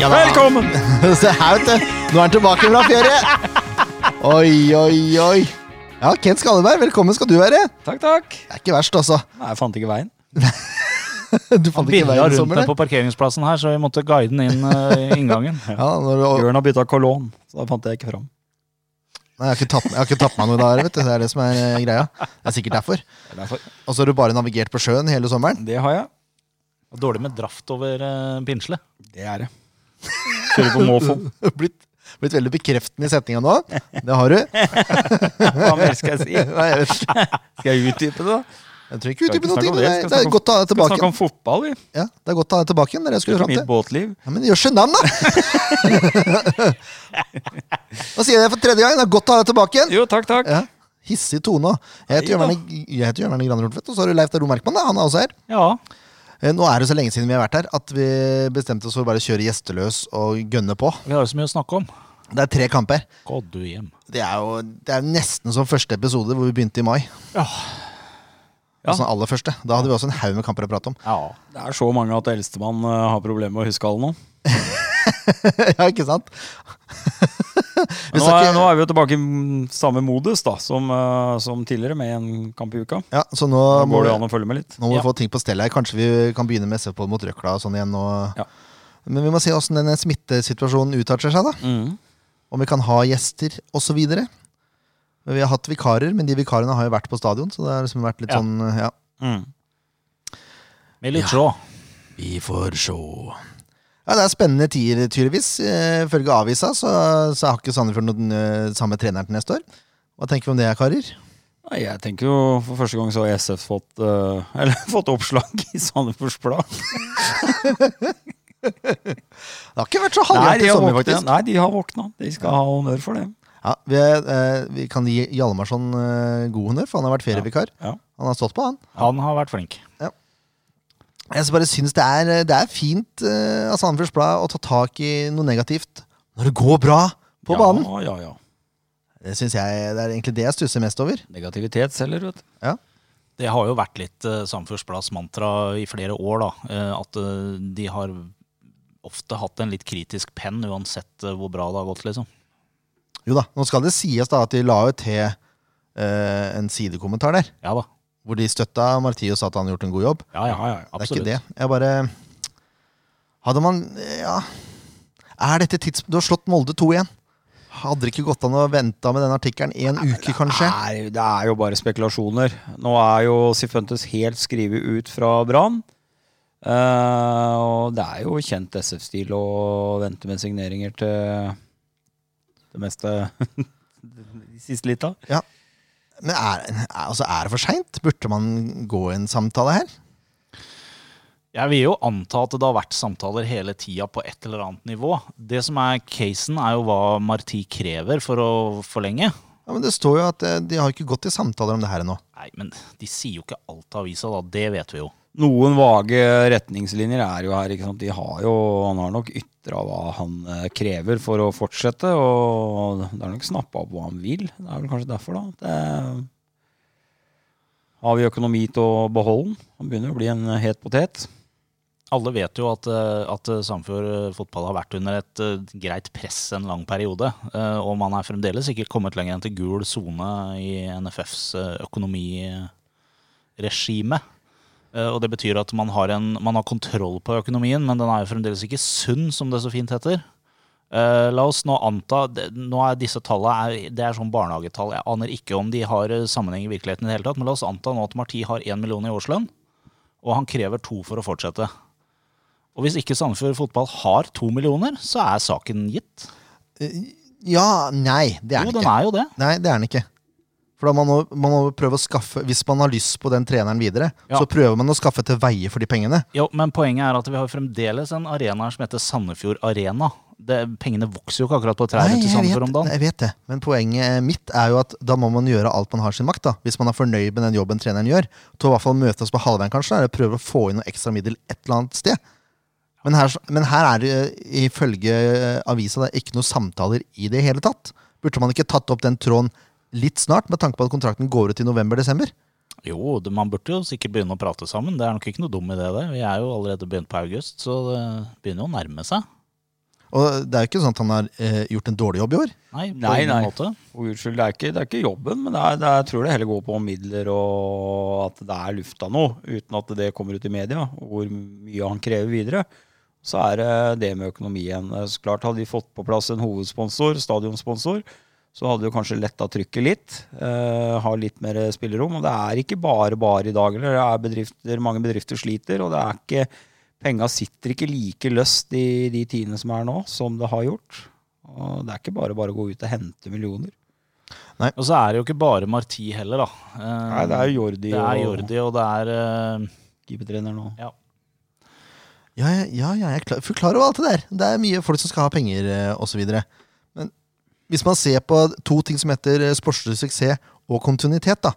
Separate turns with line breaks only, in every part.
Ja da.
Velkommen!
Se her, vet du. Nå er han tilbake fra ferie. Oi, oi, oi. Ja, Kent Skalleberg, velkommen skal du være. Det
Takk, takk.
er ikke verst, altså.
Nei, jeg fant ikke veien.
Du fant ikke
Billa
veien i
rundt
sommer,
meg
det.
på parkeringsplassen her, så vi måtte guide den inn eh, i inngangen.
Ja, når du,
Bjørn har bytta kolon, så da fant jeg ikke fram.
nei, jeg, har ikke tatt, jeg har ikke tatt meg noe der, vet du. Det er det som er eh, greia. Det er sikkert derfor. Og så har du bare navigert på sjøen hele sommeren.
Det har jeg.
Og Dårlig med draft over
eh,
uh, pinsle.
Det er det.
Kjører på måfå.
Blitt, blitt veldig bekreftende i setninga nå. Det har du.
Hva mer skal jeg si?
Nei, jeg vet ikke.
Skal jeg utdype det? da?
Jeg tror ikke
Skal
utdype noe.
ikke
ting,
snakke om
men
det.
Det det
Skal
er
snakke om-
godt å ha deg
Skal
tilbake.
snakke om fotball, vi.
Ja, det er godt å ha deg tilbake igjen. Det er det jeg skulle
Ikke
fram til.
mitt båtliv.
Ja, men gjør seg navn, da! Nå sier jeg det for tredje gang. Det er godt å ha deg tilbake igjen.
Jo, takk, takk.
Ja. Hissig tone òg. Jeg heter
Nei da.
Jørgen- jeg heter Jørgen Gran Rortvedt, og så har du Leif Daro Merkmann. da. Han er også her.
Ja.
Eh, Nå er det så lenge siden vi har vært her at vi bestemte oss for å bare kjøre gjesteløs og gønne på.
Vi har jo så mye å snakke om.
Det er tre kamper.
Gå du hjem.
Det er jo det er nesten som første episode hvor vi begynte i mai.
Ja.
Ja.
Altså den aller første. Da hadde vi også en haug med kamper å prate om.
ja.
Det er så mange at eldstemann eh, har problemer med å huske alle nå.
ja, ikke sant? Vi
Nå
skal
er,
ikke-
nå er vi jo tilbake i mm, samme modus da, som, eh, som tidligere, med en kamp i uka.
Ja, så nå,
Da
må
går det
vi-
an å følge med litt.
Nå må
Ja.
vi få ting på stell her. Kanskje vi kan begynne med SFO mot Røkla og sånn igjen. Og...
Ja.
Men vi må se åssen denne smittesituasjonen utarter seg. da.
Mm.
Om vi kan ha gjester osv. Vi har hatt vikarer, men de vikarene har jo vært på stadion. Så det har liksom vært litt
Ja.
sånn, ja.
Mm.
Med litt sjå.
Vi får sjå. Ja, Det er spennende tider, tydeligvis. Eh, Ifølge avisa så, så har ikke Sandefjord den eh, samme treneren til neste år. Hva tenker vi om det, karer?
Nei, jeg tenker jo For første gang så har SF fått, eh, eller, fått oppslag i Sandefjords Blad.
Det har ikke vært så
Nei,
halvgærent
de
i
har
sommer,
våkna.
faktisk.
Nei, de har våkna. De skal ha honnør for det.
Ja, vi, eh, vi kan gi Hjalmarsson eh, god honnør, for han har vært ferievikar.
Ja.
Han har stått på, han.
Han har vært flink.
Jeg så bare syns det er, det er fint eh, av Sandefjords Blad å ta tak i noe negativt når det går bra på
ja,
banen.
Ja, ja.
Det synes jeg, det er egentlig det jeg stusser mest over.
Negativitet selger, vet du.
Ja.
Det har jo vært litt uh, Samfunnsblads mantra i flere år, da. eh, at eh, de har ofte hatt en litt kritisk penn, uansett eh, hvor bra det har gått, liksom.
Jo da, Nå skal det sies da at de la jo til eh, en sidekommentar der,
Ja da.
hvor de støtta Marti og sa at han har gjort en god jobb.
Ja, ja, absolutt.
Det er ikke det. Jeg bare Hadde man Ja. Er dette tids... Du har slått Molde 2 igjen. Hadde det ikke gått an å vente med den artikkelen i en uke, kanskje?
Nei, det er jo bare spekulasjoner. Nå er jo Sifuentes helt skrevet ut fra Brann. Eh, og det er jo kjent SF-stil å vente med signeringer til det meste i siste lita.
Men er, er- altså, er det for seint? Burde man gå i en samtale her?
Jeg vil jo anta at det har vært samtaler hele tida på et eller annet nivå. Det som er casen, er jo hva Marti krever for å forlenge.
Ja, men Det står jo at eh, de har ikke gått i samtaler om det her ennå.
Nei, men de sier jo ikke alt til avisa, da. Det vet vi jo.
Noen vage retningslinjer er jo her. ikke sant? De har jo, Han har nok ytra hva han eh, krever for å fortsette, og det er nok snappa opp hva han vil. Det er vel kanskje derfor, da. at Det, har vi økonomi til å beholde den? Han begynner å bli en het potet.
Alle vet jo at, eh, at eh, Sandefjord eh, fotball har vært under et eh, greit press en lang periode. eh, Og man er fremdeles ikke kommet lenger enn til gul sone i NFFs eh, økonomiregime. Eh, Og det betyr at man har, en, man har kontroll på økonomien, men den er jo fremdeles ikke sunn, som det så fint heter. Eh, la oss nå anta det- Nå er disse tallene er, Det er sånn barnehagetall. Jeg aner ikke om de har eh, sammenheng i virkeligheten i det hele tatt, men la oss anta nå at Marti har én million i årslønn, og han krever to for å fortsette. Og hvis ikke Sandefjord fotball har to millioner, så er saken gitt.
Eh, Ja, nei, det er
Jo,
den
den
ikke.
er jo det.
Nei, det er den ikke. For da man må man må prøve å skaffe, Hvis man har lyst på den treneren videre,
Ja.
så prøver man å skaffe til veie for de pengene.
Jo, men poenget er at vi har fremdeles en arena her som heter Sandefjord Arena. Det, pengene vokser jo ikke akkurat på trærne
Nei,
til
jeg vet,
Sandefjord om dagen.
jeg vet det. Men poenget mitt er jo at da må man gjøre alt man har sin makt. da Hvis man er fornøyd med den jobben treneren gjør. Til å i hvert fall møte oss på halvveien, kanskje. Eller prøve å få inn noe ekstra middel et eller annet sted. Men her, men her er det eh, ifølge eh, avisa det er ikke noe samtaler i det hele tatt. Burde man ikke tatt opp den tråden litt snart, med tanke på at kontrakten går ut i november-desember?
Jo, det, man burde jo sikkert begynne å prate sammen. Det er nok ikke noe dum idé, det. Vi er jo allerede begynt på august, så det begynner jo å nærme seg.
Og det er jo ikke sånn at han har eh, gjort en dårlig jobb i år.
Nei, på
Nei,
ingen
nei.
måte.
For Guds skyld, det er ikke, det er ikke jobben, men det er, det er, jeg tror det heller går på midler og at det er lufta nå, uten at det kommer ut i media, og hvor mye han krever videre. Så er det det med økonomien. Så klart Hadde de fått på plass en hovedsponsor, stadionsponsor, så hadde det kanskje letta trykket litt. eh, ha litt mer spillerom. Og det er ikke bare bare i dag. Eller det er bedrifter, mange bedrifter sliter, og det er ikke Penga sitter ikke like løst i de tidene som er nå, som det har gjort. Og det er ikke bare bare å gå ut og hente millioner.
Og så er det jo ikke bare Marti heller, da. Eh,
Nei, det er jo Jordi
det er
og
Jordi, og det er eh,
keepertrener nå.
ja.
Ja, ja, ja, ja jeg er klar, fullt klar over alt det der. Det er mye folk som skal ha penger, eh, og så videre Men hvis man ser på to ting som heter eh, sportslig suksess og kontinuitet, da,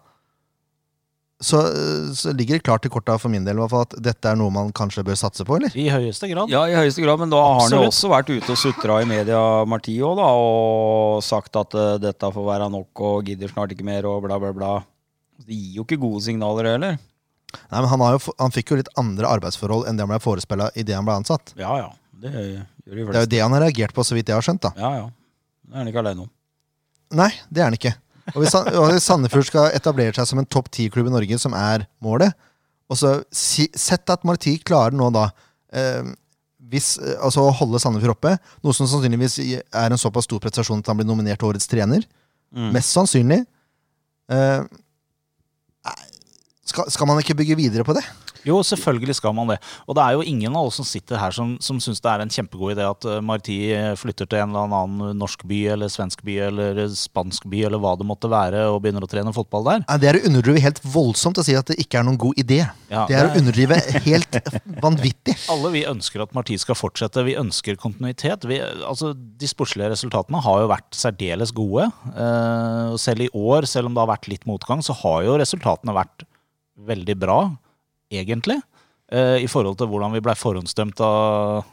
så, eh, så ligger det klart i korta for min del i hvert fall, at dette er noe man kanskje bør satse på, eller?
I høyeste grad.
Ja, i høyeste grad, men da har han jo
Absolutt.
også vært ute og sutra i media, Marti òg, da, og sagt at eh, dette får være nok og gidder snart ikke mer og bla, bla, bla. Det gir jo ikke gode signaler heller.
Nei, men han, har jo, f- han fikk jo litt andre arbeidsforhold enn det han ble forespeila idet han ble ansatt.
Ja, ja. Det gjør de
Det er
fleste.
jo det han har reagert på, så vidt jeg har skjønt. da
Ja, ja. Det er han ikke aleine om.
Nei, det er han ikke. Og hvis, han, og hvis Sandefjord skal etablere seg som en topp ti-klubb i Norge, som er målet og så si, Sett at Marti klarer nå da eh, hvis, eh, altså å holde Sandefjord oppe, noe som sannsynligvis i- er en såpass stor prestasjon at han blir nominert til årets trener.
Mm.
Mest sannsynlig. Eh, skal, skal man ikke bygge videre på det?
Jo, selvfølgelig skal man det. Og det er jo ingen av oss som sitter her som, som syns det er en kjempegod idé at eh, Marti eh, flytter til en eller annen eh, norsk by eller svensk by eller eh, spansk by eller hva det måtte være, og begynner å trene fotball der.
Nei, Det er å underdrive helt voldsomt å si at det ikke er noen god idé.
Ja,
Det er å underdrive helt vanvittig.
Alle vi ønsker at Marti skal fortsette. Vi ønsker kontinuitet. Vi, altså, de sportslige resultatene har jo vært særdeles gode. Eh, og selv i år, selv om det har vært litt motgang, så har jo resultatene vært veldig bra, egentlig. Eh, I forhold til hvordan vi blei forhåndsdømt av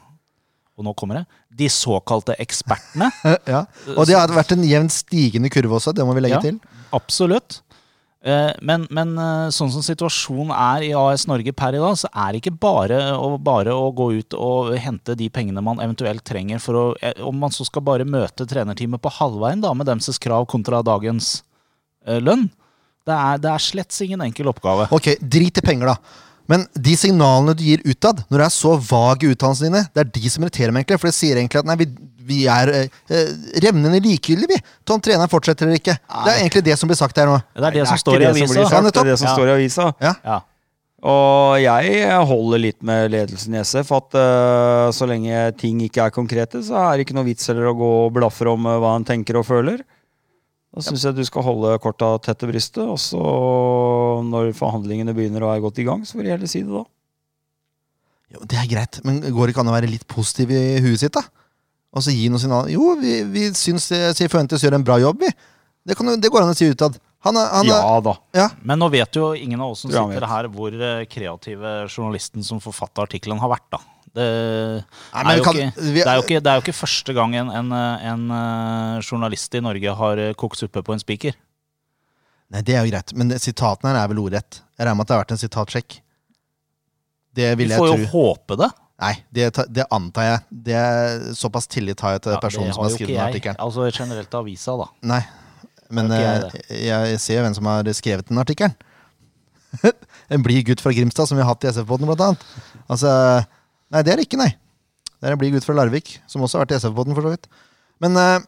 Og nå kommer det. De såkalte ekspertene.
Ja. Og det har vært en jevnt stigende kurve også, det må vi legge
Ja.
til.
Absolutt. Eh, Men, men eh, sånn som situasjonen er i AS Norge per i dag, så er det ikke bare å, bare å gå ut og hente de pengene man eventuelt trenger for å eh, Om man så skal bare møte trenerteamet på halvveien da, med demses krav kontra dagens eh, lønn. Det er, det er slett ingen enkel oppgave.
Ok, drit i penger, da. Men de signalene du gir utad, når du er så vag i uttalelsene dine, det er de som irriterer meg, egentlig. For det sier egentlig at nei, vi, vi er eh, eh, revnende likegyldige, vi. Til om treneren fortsetter eller ikke. Det er egentlig det som blir sagt her nå.
Det er det,
Nei,
som
ikke
står i
det som blir
avisa. Ja,
sagt, Det er det
nettopp.
som
Ja.
står i avisa.
Ja.
Og jeg holder litt med ledelsen i SF at eh, så lenge ting ikke er konkrete, så er det ikke noe vits heller å gå og blaffe om eh, hva en tenker og føler. Da syns jeg du skal holde korta tett til brystet, og så når forhandlingene begynner og er godt i gang, så får de heller si det da.
Jo, det er greit, men går det ikke an å være litt positiv i huet sitt, da? Og så gi noen signaler. Jo, vi, vi syns eh, Siv Fuentes gjør en bra jobb, vi. Det, kan, du- det går an å si utad. Han er, han er
Ja da.
Men nå vet jo ingen av oss som
Ja, han
sitter
vet.
her, hvor eh, kreative journalisten som forfatta artikkelen, har vært, da. Det,
Nei,
er
men
jo
kan-
ikke,
vi-
det, er jo ikke, det er jo ikke første gang en, en, eh, en eh, journalist i Norge har eh, kokt suppe på en spiker.
Nei, det er jo greit, men det- sitaten her er vel ordrett. Jeg regner med at det har vært en sitatsjekk. Det
Vi
vil jeg
får
tro.
jo håpe det.
Nei, det, ta- det antar jeg. Det er Såpass tillit har jeg til
Ja,
personen
det
som
har
har
jo
skrevet
ikke
den
jeg.
artikkelen.
Altså generelt til avisa, da.
Nei, men
Det har
eh,
ikke jeg,
jeg, ser jo hvem som har skrevet den artikkelen. en blid gutt fra Grimstad som vi har hatt i SF-båten, blant annet. Altså, nei, det er det ikke, nei. Det er en blid gutt fra Larvik, som også har vært i SF-båten, for så vidt. Men eh,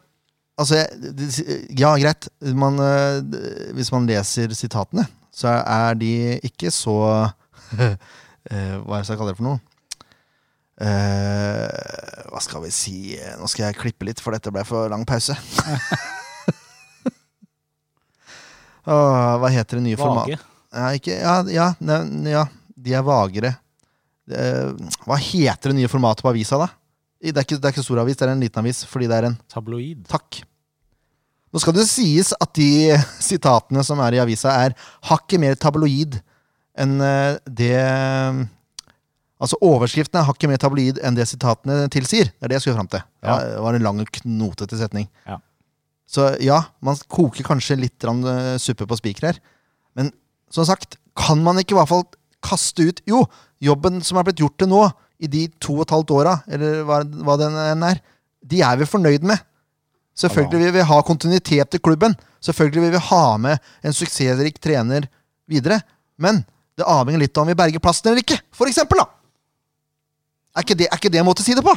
altså, jeg- det- ja, greit. Man, eh, d- hvis man leser sitatene, så er de ikke så eh, Hva skal jeg kalle det for noe? Eh, hva skal vi si Nå skal jeg klippe litt, for dette ble for lang pause. Åh, hva heter det nye formatet?
Vage.
Ja, ikke, ja, ja, ne, ja, de er vagere. Eh, hva heter det nye formatet på avisa, da? I- Det er, ikke, det er ikke stor avis, det er en liten avis, fordi det er en
Tabloid.
takk. Nå skal det sies at de sitatene som er i avisa, er hakket mer tabloid enn eh, det Altså overskriften er hakket mer tabloid enn det sitatene tilsier. Det er det jeg skulle fram til. Det
Ja.
var- Det var en lang og knotete setning.
Ja.
Så ja, man koker kanskje litt grann, eh, suppe på spiker her. Men som sagt, kan man ikke i hvert fall kaste ut Jo, jobben som er blitt gjort til nå, i de to og et halvt åra, eller hva, hva den enn er, de er vi fornøyd med. Selvfølgelig vil vi ha kontinuitet i klubben. Selvfølgelig vil vi ha med en suksessrik trener videre. Men det avhenger litt av om vi berger plassen eller ikke, for eksempel, da. Er ikke det, er ikke det en måte å si det på?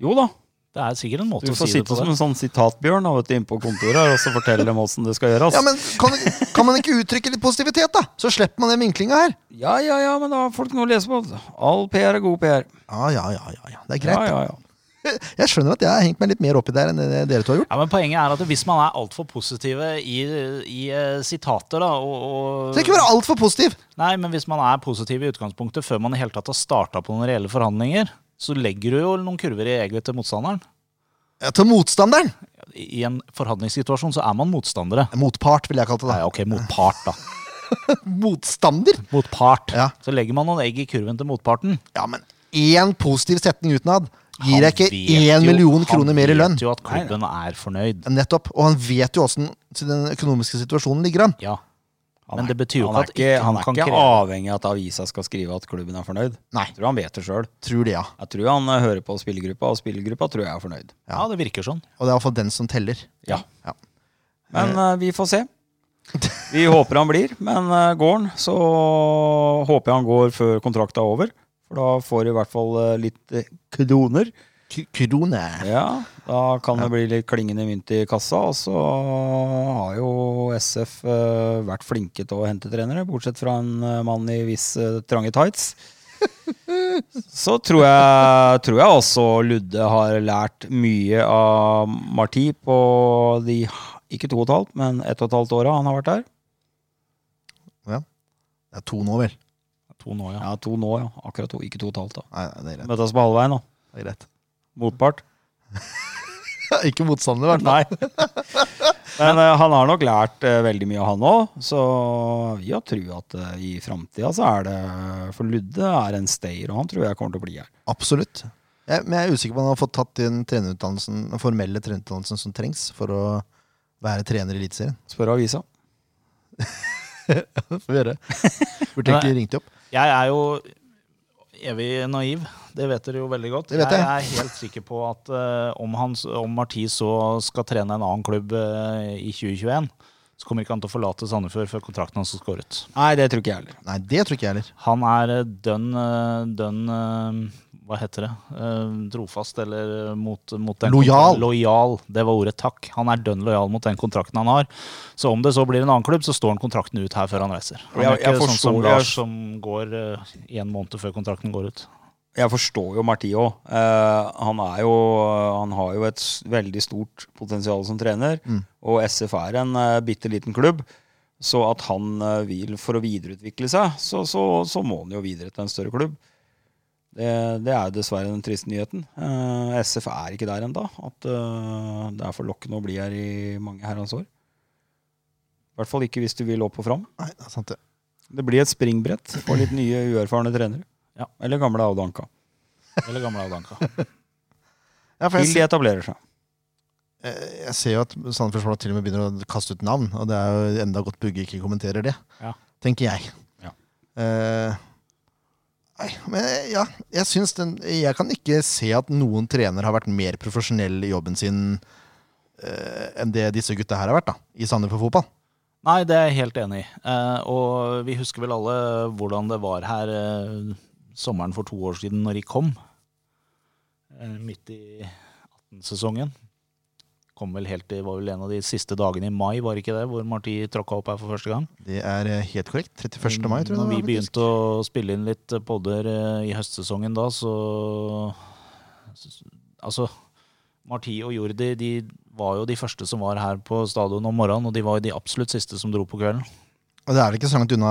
Jo da.
Det er sikkert en måte
Du
å
får
si det
sitte
på.
som
Det.
en sånn sitatbjørn da, vet du, inne på kontoret her, og så fortelle dem åssen det skal gjøres.
Ja, men kan, kan man ikke uttrykke litt positivitet, da? Så slipper man den vinklinga her.
ja, ja, ja, men da har folk noe å lese på. All PR er god PR.
Ja, ja, ja, ja, ja. Det er
Ja,
greit.
ja, ja.
Jeg skjønner at jeg har hengt meg litt mer oppi der enn det dere to har gjort.
Ja, men Poenget er at hvis man er altfor positive i, i eh, sitater da, og,
Trenger ikke
og
være altfor positiv.
Nei, men hvis man er positiv i utgangspunktet før man i hele tatt har starta på noen reelle forhandlinger, så legger du jo noen kurver i eget til motstanderen.
Ja, til motstanderen.
I en forhandlingssituasjon så er man motstandere.
Motpart, ville jeg kalt det.
Nei, ok, motpart, da.
da Motstander?
Motpart.
Ja.
Så legger man noen egg i kurven til motparten.
Ja, men én positiv setning utenad gir
Han
jeg ikke
vet
én
jo-
million kroner mer i lønn.
Han vet jo at klubben er fornøyd.
Nettopp. Og han vet jo åssen den økonomiske situasjonen ligger an.
Ja.
Han
Men
er-
det betyr jo
han er
ikke at ikke
han
han
er
kan
ikke
kreve.
avhengig av at avisa skal skrive at klubben er fornøyd.
Nei.
Jeg tror han vet det sjøl.
Tror det, ja.
Jeg tror han eh, hører på spillergruppa, og spillergruppa tror jeg er fornøyd.
Ja, det virker sånn.
Og det er iallfall den som teller.
Ja.
Ja.
Men eh, vi får se. Vi håper han blir, men eh, går han, så håper jeg han går før kontrakta er over. For da får de i hvert fall eh, litt eh, kroner.
K krone.
Ja, Da kan det bli litt klingende mynt i kassa. Og så har jo SF eh, vært flinke til å hente trenere, bortsett fra en eh, mann i viss eh, trange tights. Så tror jeg, tror jeg også Ludde har lært mye av Marti på de ikke to og et halvt, men ett og et halvt åra han har vært der.
Det er to nå, vel.
To nå, ja.
Ja, to nå, ja. Akkurat to. Ikke to og et halvt, da.
Nei, det er greit.
Møtes på halvveien, da.
Det er greit.
Motpart.
ikke motstander, i hvert fall.
Nei. Men eh, han har nok lært eh, veldig mye, han òg. Så vi har trua at eh, i framtida så er det For Ludde er en stayer, og han tror jeg kommer til å bli her.
Absolutt. Jeg, men jeg er usikker på om han har fått tatt den trenerutdannelsen, den formelle trenerutdannelsen som trengs for å være trener i Eliteserien.
Spør avisa.
Får vi gjøre. Burde egentlig ringt de opp.
Jeg er jo evig naiv. Det vet dere jo veldig godt.
Det vet jeg.
er helt sikker på at eh, om, han, om Marti så skal trene en annen klubb eh, i 2021, så kommer ikke han til å forlate Sandefjord før kontrakten hans er skåret.
Nei, det tror ikke jeg heller.
Nei, det tror ikke jeg heller.
Han er eh, dønn eh, dønn eh, hva heter det? Eh, Trofast eller eh, mot, mot den
Lojal.
kontrakten. Lojal. Det var ordet takk. Han er dønn lojal mot den kontrakten han har. Så om det så blir en annen klubb, så står han kontrakten ut her før han reiser. Han er
Jeg- jeg
ikke sånn som
forstår- jeg-
Lars som går eh, en måned før kontrakten går ut.
Jeg forstår jo Marti òg. han er jo Han har jo et s- veldig stort potensial som trener,
Mm.
og SF er en uh, bitte liten klubb. Så at han eh, vil for å videreutvikle seg, så, så, så må han jo videre til en større klubb. Det, det er jo dessverre den triste nyheten. Eh, SF er ikke der ennå. At eh, det er for lokkende å bli her i mange herrens år. I hvert fall ikke hvis du vil opp og fram.
Nei, det er sant det.
Det blir et springbrett for litt nye, uerfarne trenere.
Ja.
Eller gamle avdanka.
Eller gamle Avdanka.
Ja, for jeg,
Til de etablerer seg.
Eh, Jeg ser jo at Sandefjordsbladet til og med begynner å kaste ut navn, og det er jo enda godt Bugge ikke kommenterer det,
Ja.
tenker jeg.
Ja.
Eh, nei, men ja, jeg syns den Jeg kan ikke se at noen trener har vært mer profesjonell i jobben sin eh, enn det disse gutta her har vært, da, i Sandefjord fotball.
Nei, det er jeg helt enig i. Eh, og vi husker vel alle hvordan det var her eh, sommeren for to år siden når de kom. Eh, midt i 18-sesongen. Kom vel helt i, var vel en av de siste dagene i mai, var det ikke det? Hvor Marti tråkka opp her for første gang.
Det er eh, helt korrekt. 31. mai, tror jeg.
Når
det
vi
var, faktisk.
begynte å spille inn litt podder eh, i høstsesongen da, så Altså, Marti og Jordi de var jo de første som var her på stadion om morgenen, og de var jo de absolutt siste som dro på kvelden.
Og det er vel ikke så langt unna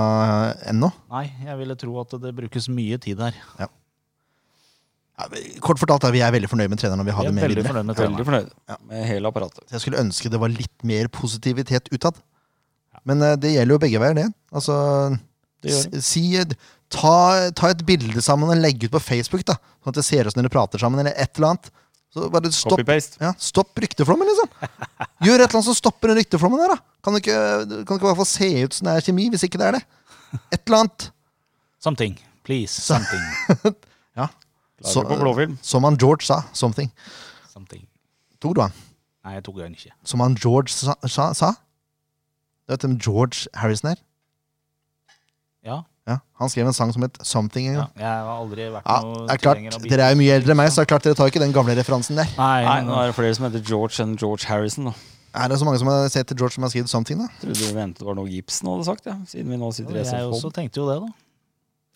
eh, ennå.
Nei, jeg ville tro at det brukes mye tid her.
Ja, men kort fortalt er vi er veldig fornøyd med treneren. Og vi har
Jeg
det
er
med
veldig
videre.
fornøyd med
Veldig
treneren.
fornøyd
Ja.
med hele apparatet.
Så jeg skulle ønske det var litt mer positivitet utad. Men eh, det gjelder jo begge veier, det. Altså,
Det gjør
s- si, eh, ta, ta et bilde sammen og legg ut på Facebook, da. Sånn at det ser ut som dere prater sammen, eller et eller annet. Så bare stopp,
Copy-paste.
ja, stopp rykteflommen, liksom. Gjør et eller annet som stopper den rykteflommen der, da. Kan det ikke, kan det ikke i hvert fall se ut som det er kjemi, hvis ikke det er det? Et eller annet.
Something. Please, something.
Ja.
Lager på blåfilm.
som han George sa. Something.
Something.
Tok du han?
Nei, jeg tok den ikke.
Som han George sa? sa, sa. Du vet hvem George Harrison er?
Ja,
Ja, han skrev en sang som het Something en
ja.
gang.
Jeg har aldri vært
Ja,
noe
det er klart, Dere er jo mye eldre enn meg, så det er klart dere tar ikke den gamle referansen der.
Nei,
Nei, nå er det flere som heter George enn George Harrison. da
Er det så mange som har sett George som har skrevet Something? da?
Trodde du ventet det var noe Gibson hadde sagt, ja. siden vi nå sitter i
jeg
SFO.
også tenkte jo det, da.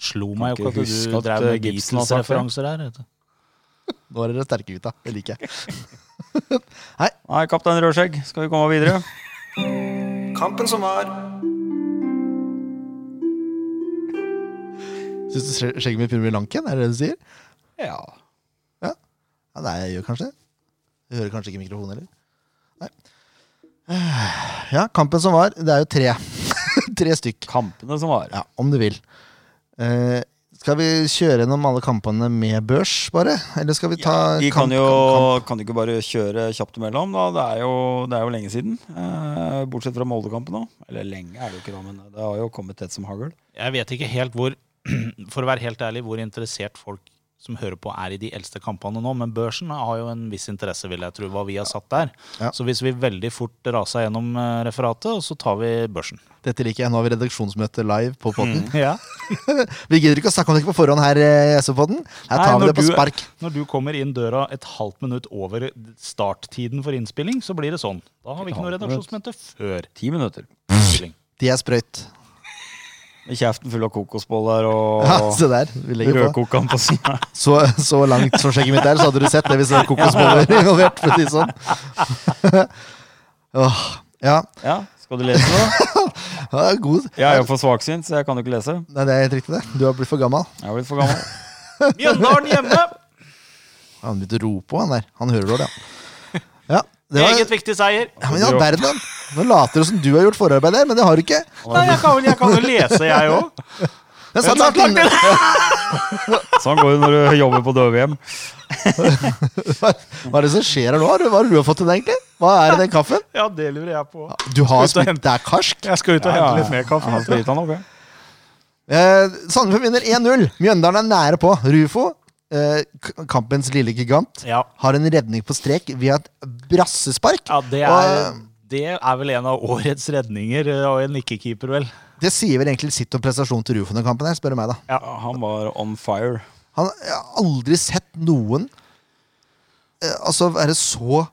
Slo meg jo
Kan ikke
ikke at du
huske at,
drev
eh,
med
Gibson har sagt det.
Beatles-referanser her. Vet du.
Nå er dere sterke, gutta. Det liker jeg.
Nei, kaptein Rødskjegg, skal vi komme videre?
Kampen som var Syns du skje- skjegget mitt begynner å bli lankt igjen? Er det det du sier?
ja.
Ja, nei, jeg gjør kanskje det. Jeg hører kanskje ikke mikrofonen heller. Nei. Ja, kampen som var, det er jo tre. tre stykk.
Kampene som var.
Ja, om du vil. Eh, skal vi kjøre gjennom alle kampene med børs, bare? Eller skal vi ta
vi
kamp-
kan jo
kamp-
kan du ikke bare kjøre kjapt imellom, da. Det er jo, det er jo lenge siden. Eh, bortsett fra Moldekampen nå. Eller lenge er det jo ikke, da, men det har jo kommet tett som hagl.
Jeg vet ikke helt hvor, for å være helt ærlig, hvor interessert folk som hører på, er i de eldste kampene nå. Men børsen har jo en viss interesse, vil jeg tro, hva vi har satt der.
Ja.
Så hvis vi veldig fort raser gjennom eh, referatet, og så tar vi børsen.
Dette liker jeg. Nå har vi redaksjonsmøte live på podden.
Ja.
Vi gidder ikke å snakke om det på forhånd her eh, i SV-podden. Her
Nei,
tar vi
når
det på
du-
spark.
Når du kommer inn døra et halvt minutt over starttiden for innspilling, så blir det sånn. Da har vi ikke noe
Et halvt
redaksjonsmøte før
Ti minutter.
innspilling.
De er sprøyt.
Med kjeften full av kokosboller og
Ja, se der. Vi legger på.
rødkokan på siden.
Så, så langt som skjegget mitt er, så hadde du sett det hvis det var kokosboller involvert. For å si det sånn. Åh, ja,
Ja, skal du lese da?
Ja, det er god.
Jeg er jo for svaksynt, så jeg kan jo ikke lese.
Nei, det er helt riktig, det. Du har blitt for gammel.
Jeg er blitt for gammel.
Mjøndalen hjemme!
Han begynte å rope, han der. Han hører dårlig, ja. ja det var,
Meget viktig seier.
ja, men i all verden, nå later du som du har gjort forarbeid der, men det har du ikke.
Nei, jeg kan vel- jeg kan jo lese, jeg òg.
Men satt langt inne.
Sånn går det når du jobber på døvehjem.
Hva hva er det som skjer her nå? Hva er det- hva er det du har fått til, egentlig? Hva er det i den kaffen?
Ja, det lurer jeg på.
Du har
Skal vi ta
smitt, det er karsk.
Jeg skal ut og hente litt mer
Ja,
kaffe.
skal vi ta den opp, ja.
Eh, Sandefjord vinner 1-0. Mjøndalen er nære på. Rufo, eh, k- kampens lille gigant,
Ja.
har en redning på strek via et brassespark.
Ja, det
Og,
er, det er vel en av årets redninger, eh, og en ikke-keeper, vel.
eh, det sier vel egentlig sitt om prestasjonen til Rufo i den kampen, her, spør du meg. da
Ja, Han var on fire.
Han jeg har aldri sett noen eh, Altså være så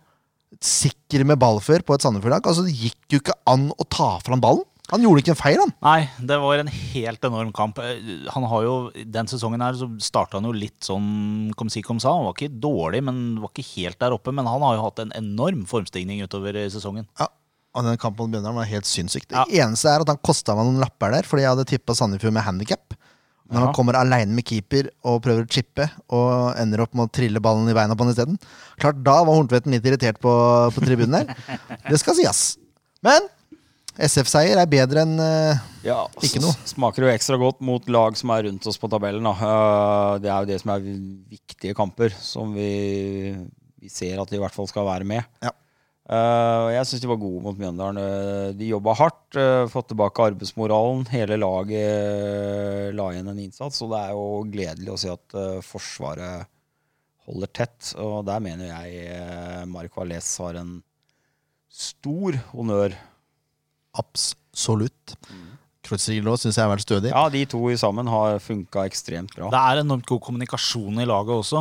sikker med ball før på et Sandefjord-lag. Altså, det gikk jo ikke an å ta fra han ballen. Han gjorde ikke en feil, han.
Nei, det var en helt enorm kamp. Eh, Han har jo, Den sesongen her så starta han jo litt sånn kom si kom sa. Han var ikke dårlig, men var ikke helt der oppe. Men han har jo hatt en enorm formstigning utover i sesongen.
Ja, og den kampen mot Mjøndalen var helt sinnssyk. Det
Ja.
eneste er at han kosta meg noen lapper der, fordi jeg hadde tippa Sandefjord med handikap. Når han kommer aleine med keeper og prøver å chippe og ender opp med å trille ballen i beina på han isteden. Klart, da var Horntvedten litt irritert på, på tribunen der. Det skal sies. Men SF-seier er bedre enn eh,
Ja, og
Ikke
så
noe.
Smaker jo ekstra godt mot lag som er rundt oss på tabellen. Da. Eh, Det er jo det som er viktige kamper, som vi, vi ser at de i hvert fall skal være med.
Ja.
Eh, og jeg syns de var gode mot Mjøndalen. Eh, De jobba hardt, eh, fått tilbake arbeidsmoralen. Hele laget eh, la igjen en innsats, og det er jo gledelig å se at eh, Forsvaret holder tett. Og der mener jeg eh, Mark Valles har en stor honnør.
absolutt. Kreuzrigelå syns jeg har vært stødig.
Ja, de to i sammen har funka ekstremt bra.
Det er enormt god kommunikasjon i laget også.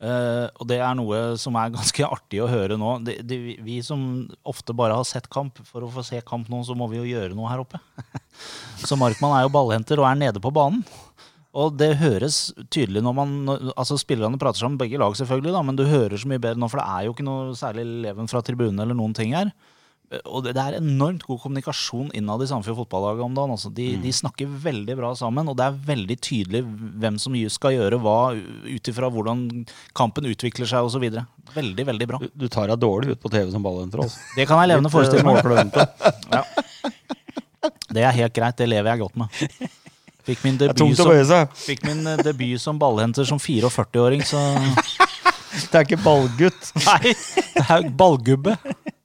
Eh, og det er noe som er ganske artig å høre nå. Det, det, vi- vi som ofte bare har sett kamp, for å få se kamp nå, så må vi jo gjøre noe her oppe. så Markmann er jo ballhenter og er nede på banen. Og det høres tydelig når man når- Altså Spillerne prater sammen, begge lag selvfølgelig, da, men du hører så mye bedre nå, for det er jo ikke noe særlig leven fra tribunen eller noen ting her. Eh, Og det, det er enormt god kommunikasjon innad i Sandefjord fotballag om dagen. Altså.
Mm.
De, de snakker veldig bra sammen, og det er veldig tydelig hvem som skal gjøre hva ut ifra hvordan kampen utvikler seg osv. Veldig, veldig bra.
Du, du tar deg dårlig ut på TV som ballhenter. altså.
Det kan jeg levende
Litt, eh,
forestille meg.
målkløvete.
Det er helt greit, det lever jeg godt med. Fikk min
Det er
debut,
tungt å
som,
bøye seg.
fikk min eh, debut som ballhenter som 44-åring, så
Det er ikke ballgutt.
Nei, det er ballgubbe.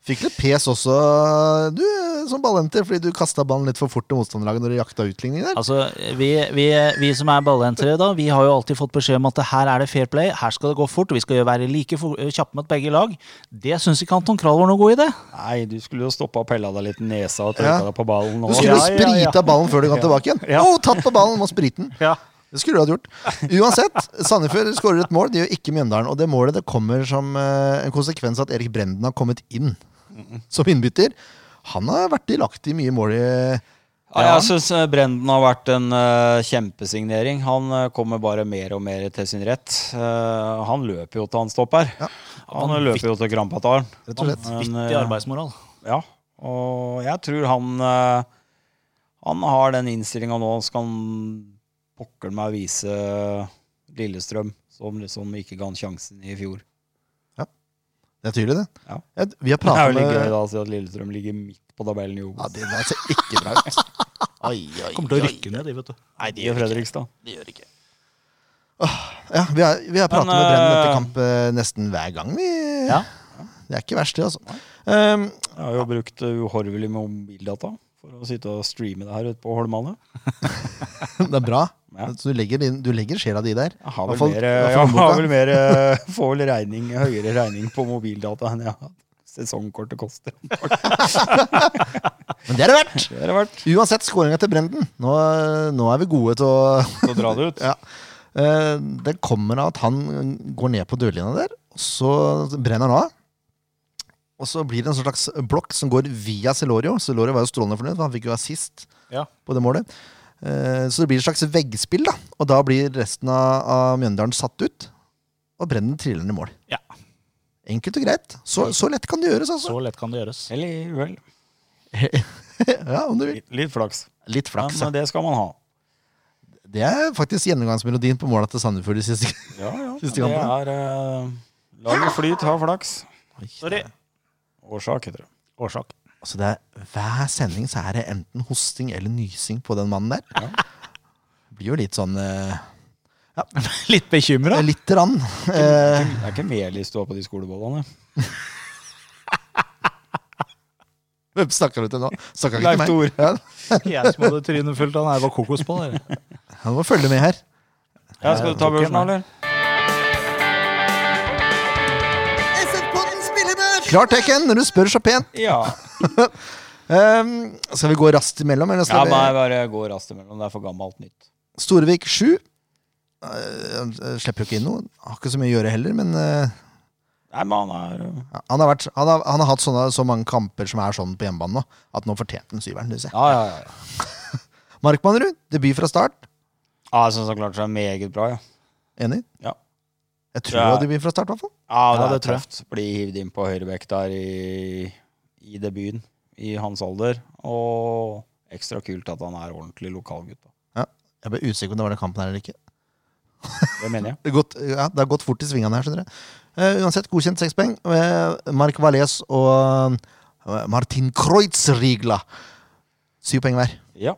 Fikk litt pes også, du, som ballenter, fordi du kasta ballen litt for fort til motstanderlaget når du jakta utligning der.
Altså, vi, vi, vi som er ballentere, da, vi har jo alltid fått beskjed om at her er det fair play, her skal det gå fort, vi skal jo være like fo- kjappe mot begge lag. Det syns ikke Anton Krall var noen god idé.
Nei, du skulle jo stoppa og pella deg litt i nesa
Ja.
og tørka deg på ballen.
Du
og-
skulle
Ja, ja,
sprita
ja.
ballen før du kom tilbake igjen.
Ja.
Å, tatt på ballen, må sprite den. Det skulle du ha gjort. Uansett, Sandefjord skårer et mål, det gjør ikke Mjøndalen. Og det målet det kommer som eh, en konsekvens av at Erik Brenden har kommet inn som innbytter. Han har vært delaktig i mye mål i
Ja, jeg syns Brenden har vært en eh, kjempesignering. Han eh, kommer bare mer og mer til sin rett. Eh, han løper jo til han stopper.
Ja.
Han løper jo til Grandpataren.
Rett og slett.
Men,
Vittig
eh,
arbeidsmoral.
Ja, og jeg tror han eh, Han har den innstillinga nå, skal han pokker meg vise Lillestrøm, som liksom ikke ga han sjansen i fjor.
Det er tydelig, det.
Ja.
Jeg- Vi har
Det er jo
pratet
litt
med
gøy da å si at Lillestrøm ligger midt på tabellen i
Ja,
Obos.
det der ser ikke bra ut.
Kommer til å rykke ned, de, vet du.
Nei, de og Fredrikstad.
Ja, vi har, vi har pratet
Men,
med Brennen etter
eh,
kamp eh, nesten hver gang. Vi,
Ja.
Det er ikke verst, det, altså. Um,
Jeg har jo brukt eh, uhorvelig mobildata for å sitte og streame det her ute på Holmane.
det er bra.
Ja.
Så du legger, din- du legger sjela di der.
Jeg har
Hva
vel
for-
mer,
hva for
jeg har
boka?
vel mer eh, får vel regning, høyere regning på mobildata enn jeg har hatt. Sesongkortet koster.
Men det er det verdt!
Det har det vært.
Uansett skåringa til Brenden. Nå, nå er vi gode til å
Så dra det ut.
Ja. Eh, Den kommer av at han går ned på dørlinja der, og så brenner han av. Og så blir det en slags blokk som går via Celorio. Celorio var jo strålende fornøyd, for han fikk jo assist
Ja.
på det målet. Eh, Så det blir et slags veggspill, da. Og da blir resten av, av Mjøndalen satt ut. Og Brennen triller ned i mål.
Ja.
Enkelt og greit. Så, så lett kan det gjøres, altså.
Så lett kan det gjøres.
Eller uhell.
ja, om du vil.
Litt, litt flaks.
Litt flaks.
Men
Ja.
det skal man ha.
Det er faktisk gjennomgangsmelodien på måla til Sandefjord de siste
Ja, ja.
Siste
Det
kampen.
er uh, Laget flyt, ha flaks.
Sorry.
Årsak, heter det.
Årsak.
Altså det er, hver sending så er det enten hosting eller nysing på den mannen der. Det Blir jo litt sånn eh,
Litt bekymra.
Litt rann.
Det
Eh,
er ikke melis du har på de skolebollene.
Hvem snakker du til nå? Snakker ikke
Leif
til meg.
Thor.
Ja,
Jeg som hadde trynet fullt av det var kokosball. dere.
han må følge med her.
Ja, skal du ta børsen, da, eller?
Klart Tekken, når du spør så pent.
Ja.
Ehm, skal vi gå raskt imellom? Eller
ja
skal
bare, bare gå raskt imellom. Det er for gammelt nytt.
vi Storevik 7. Eh, slipper jo ikke inn noe. Har ikke så mye å gjøre heller, men eh,
Nei, men han er uh,
ja, han, har vært, han, har, han har hatt sånne, så mange kamper som er sånn på hjemmebane nå, at nå fortjente han syveren. synes jeg.
Ja, ja, ja. ja.
Markmannerud, debut fra start.
Ja, jeg syns han klarte seg meget bra, ja.
Enig?
Ja.
Jeg tror
Ja.
det var debut fra start, i hvert fall.
Ja, det,
Ja, det
er
tror jeg.
tøft. Bli hivd inn på høyrebekk der i, i debuten, i hans alder. Og ekstra kult at han er ordentlig lokalgutt. da.
Jeg ble usikker på om det var den kampen her eller ikke.
Det mener jeg.
Det, er gått, ja, det har gått fort i svingene her, skjønner jeg. Eh, uansett, godkjent seks poeng. Eh, Mark Valles og eh, Martin Kreutzrigla. Syv poeng hver.